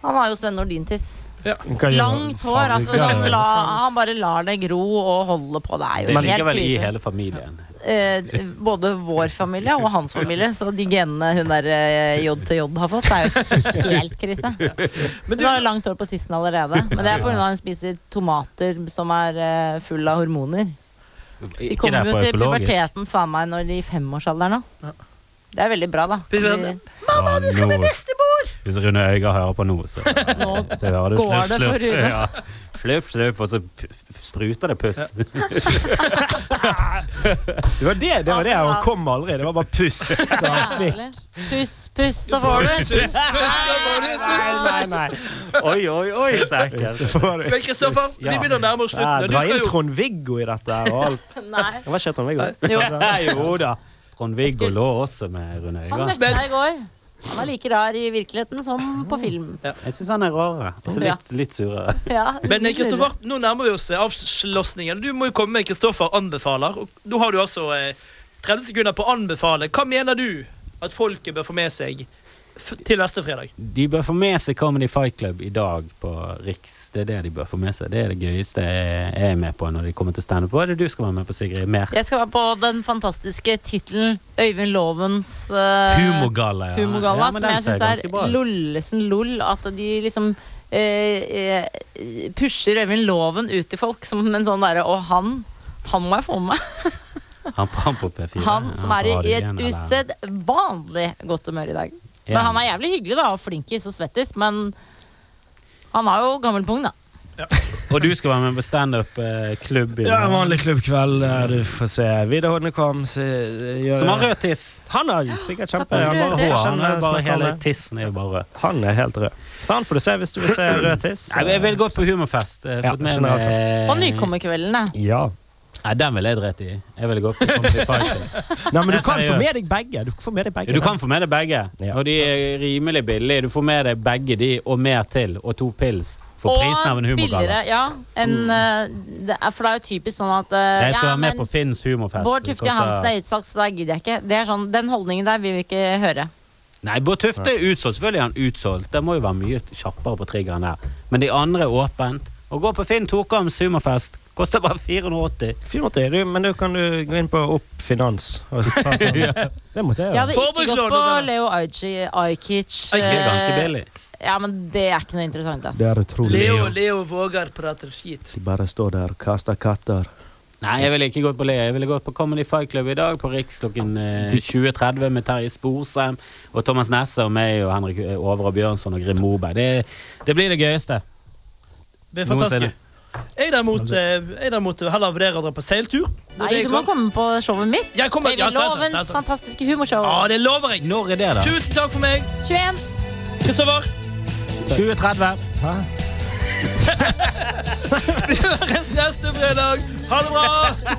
Speaker 5: Han har jo Sven Nordin-tiss. Langt
Speaker 6: Langt
Speaker 5: hår. altså
Speaker 6: han
Speaker 5: han, la, han bare lar det gro og holde på. Det er
Speaker 4: Det
Speaker 5: jo
Speaker 4: ligger
Speaker 5: helt
Speaker 4: vel i
Speaker 5: krise.
Speaker 4: hele familien.
Speaker 5: Eh, både vår familie og hans familie. Så de genene hun der eh, J til J har fått, er jo helt krise.
Speaker 3: Men du-
Speaker 5: Hun har langt hår på tissen allerede. Men det er pga. hun spiser tomater som er eh, full av hormoner. De
Speaker 4: Ikke
Speaker 5: kommer
Speaker 4: der
Speaker 5: jo
Speaker 4: på
Speaker 5: til
Speaker 4: økologisk.
Speaker 5: puberteten faen meg når de er i femårsalderen. Da. Det er veldig bra, da.
Speaker 3: Hvis vi
Speaker 5: At
Speaker 3: hadde-
Speaker 5: de-
Speaker 4: Mamma, du skal bli bestemor! Hvis Rune Øyga hører på nå, så,
Speaker 5: Nå
Speaker 4: så hører du
Speaker 5: går
Speaker 4: slurp,
Speaker 5: det for
Speaker 4: slurp.
Speaker 5: Rune.
Speaker 4: Ja. Slurp, slurp, og så p- p- spruter det puss.
Speaker 6: Det var det, det var det. Han kom aldri. Det var bare puss. Så han fikk.
Speaker 5: Puss, puss, så får du.
Speaker 3: Puss, puss, da var det
Speaker 6: Nei,
Speaker 3: puss.
Speaker 6: nei, nei.
Speaker 4: Oi, oi, oi, sekker.
Speaker 6: Så var det-
Speaker 3: Men Kristoffer, vi
Speaker 6: Ja.
Speaker 3: begynner å nærme oss
Speaker 6: Ja,
Speaker 3: slutten. og
Speaker 6: Dra
Speaker 3: Du
Speaker 6: inn
Speaker 3: skal jo
Speaker 6: Trond-Viggo i dette her og alt.
Speaker 5: Nei.
Speaker 6: Det var ikke Trond-Viggo.
Speaker 5: Jo,
Speaker 4: Jo da. Trond-Viggo lå også med Rune
Speaker 5: han
Speaker 4: Øyga.
Speaker 5: møtte meg i går. Han er like rar i virkeligheten som på film.
Speaker 4: Jeg syns han er rarere. Altså
Speaker 5: Ja.
Speaker 4: litt, litt surere.
Speaker 5: Ja,
Speaker 3: men eh, Kristoffer, nå nærmer vi oss eh, avslåsningen. Du må jo komme med Kristoffer anbefaler. Og nå har du altså eh, 30 sekunder på å anbefale. Hva mener du at folket bør få med seg f til neste fredag?
Speaker 4: De bør få med seg Comedy Fight Club i dag på Riks. Det er det de bør få med seg. Det er det gøyeste jeg er med på når de kommer til standup. Hva er det du skal være med på, Sigrid? Mer
Speaker 5: Jeg skal være på den fantastiske tittelen Øyvind Lovens eh,
Speaker 4: humorgalla? ja. Ja,
Speaker 5: Humorgalla,
Speaker 4: men
Speaker 5: som jeg
Speaker 4: den ser
Speaker 5: syns er
Speaker 4: ganske bra ut.
Speaker 5: lollesen lol. At de liksom eh, eh, pusher Øyvind Loven ut til folk som en sånn derre Og han, han må jeg få med meg.
Speaker 4: Han, på- han på P4.
Speaker 5: Han som
Speaker 4: på
Speaker 5: er i- i
Speaker 4: radioen,
Speaker 5: et
Speaker 4: eller-
Speaker 5: usedvanlig godt humør i dag. Men
Speaker 4: Ja.
Speaker 5: han er jævlig hyggelig da, og flinkis og svettis, men han har jo gammel pung, da.
Speaker 4: Og du skal være med på eh, standup-klubb.
Speaker 6: Ja, en vanlig klubbkveld. eh, Du får se. Vidar Hodne kom. Så eh, gjør
Speaker 4: Som har rød tiss.
Speaker 6: Han er sikkert kjempe...
Speaker 5: Kaptein
Speaker 6: Han,
Speaker 5: Rød
Speaker 6: bare
Speaker 5: Tiss.
Speaker 6: hår.
Speaker 4: Han er bare
Speaker 6: snakker om
Speaker 4: hele
Speaker 6: det.
Speaker 4: tissen er jo bare rød.
Speaker 6: han er helt rød. Så han får du se hvis du vil se rød tiss.
Speaker 4: Nei, men jeg ville gått på humorfest. eh,
Speaker 6: Ja,
Speaker 4: Fått med
Speaker 6: generelt
Speaker 4: meg
Speaker 5: Og Nykommerkveldene.
Speaker 6: Ja.
Speaker 4: Nei, den ville jeg drept i. Jeg ville gått på Comedy Fight Club.
Speaker 6: Nei, men du
Speaker 4: Ja,
Speaker 6: kan få
Speaker 4: seriøst.
Speaker 6: med deg begge. Du kan få med deg begge.
Speaker 4: Du kan få med deg begge,
Speaker 6: Ja.
Speaker 4: og de er rimelig billige. Du får med deg begge de og mer til, og to pils for prisen av en humorgalla.
Speaker 5: billigere, ja. enn, eh, det er, for det er jo typisk sånn at eh,
Speaker 4: Jeg skal
Speaker 5: ja,
Speaker 4: være med
Speaker 5: men
Speaker 4: på Finns humorfest.
Speaker 5: Bård
Speaker 4: Det
Speaker 5: Tufte
Speaker 4: koster-
Speaker 5: Johansen er utsolgt, så da gidder jeg ikke. Det er sånn, Den holdningen der vil vi ikke høre.
Speaker 4: Nei, Bård Tufte er utsolgt. Selvfølgelig er han utsolgt. Det må jo være mye kjappere på triggeren der. Men de andre er åpent. Å gå på Finn Tokhams humorfest koster bare 480.
Speaker 6: 480, du, men da kan du gå inn på Opp Finans. Og ta sånn. Det måtte
Speaker 5: Jeg
Speaker 6: jeg gjøre.
Speaker 5: hadde ikke gått
Speaker 3: Forbrukslån,
Speaker 5: på
Speaker 3: denne.
Speaker 5: Leo Ajkic. Ajkic,
Speaker 4: Det er
Speaker 5: eh,
Speaker 4: ganske billig.
Speaker 5: Ja, men det er ikke noe interessant, ass.
Speaker 6: Det er utrolig.
Speaker 3: Leo, Leo våger prater skit.
Speaker 6: De bare står der og kaster katter.
Speaker 4: Nei, jeg ville ikke gått på Lea. Jeg ville gått på Comedy Fight Club i dag på Riks klokken eh, 20.30 med Terje Sporsem og Thomas Nesse og meg og Henrik eh, Over og Bjørnson og Grim Moberg. Det, det blir det gøyeste.
Speaker 3: Det er
Speaker 4: Noensinne.
Speaker 3: fantastisk. Jeg derimot, eh, jeg derimot heller vurderer å dra på seiltur. Det er
Speaker 5: Nei,
Speaker 3: det jeg
Speaker 5: du må
Speaker 3: skal.
Speaker 5: komme på showet mitt.
Speaker 3: Jeg kommer- ja,
Speaker 5: Øyvind
Speaker 3: selvsagt,
Speaker 5: Lovens
Speaker 3: selvsagt.
Speaker 5: fantastiske humorshow.
Speaker 3: Ja, det lover jeg.
Speaker 4: Når er det, da?
Speaker 3: Tusen takk for meg,
Speaker 5: 21.
Speaker 3: Kristoffer.
Speaker 4: 20.30.
Speaker 3: Vi høres neste fredag. Ha det bra.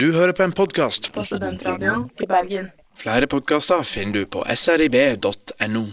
Speaker 8: Du hører på en podkast.
Speaker 2: På Studentradioen i Bergen.
Speaker 8: Flere podkaster finner du på srib.no.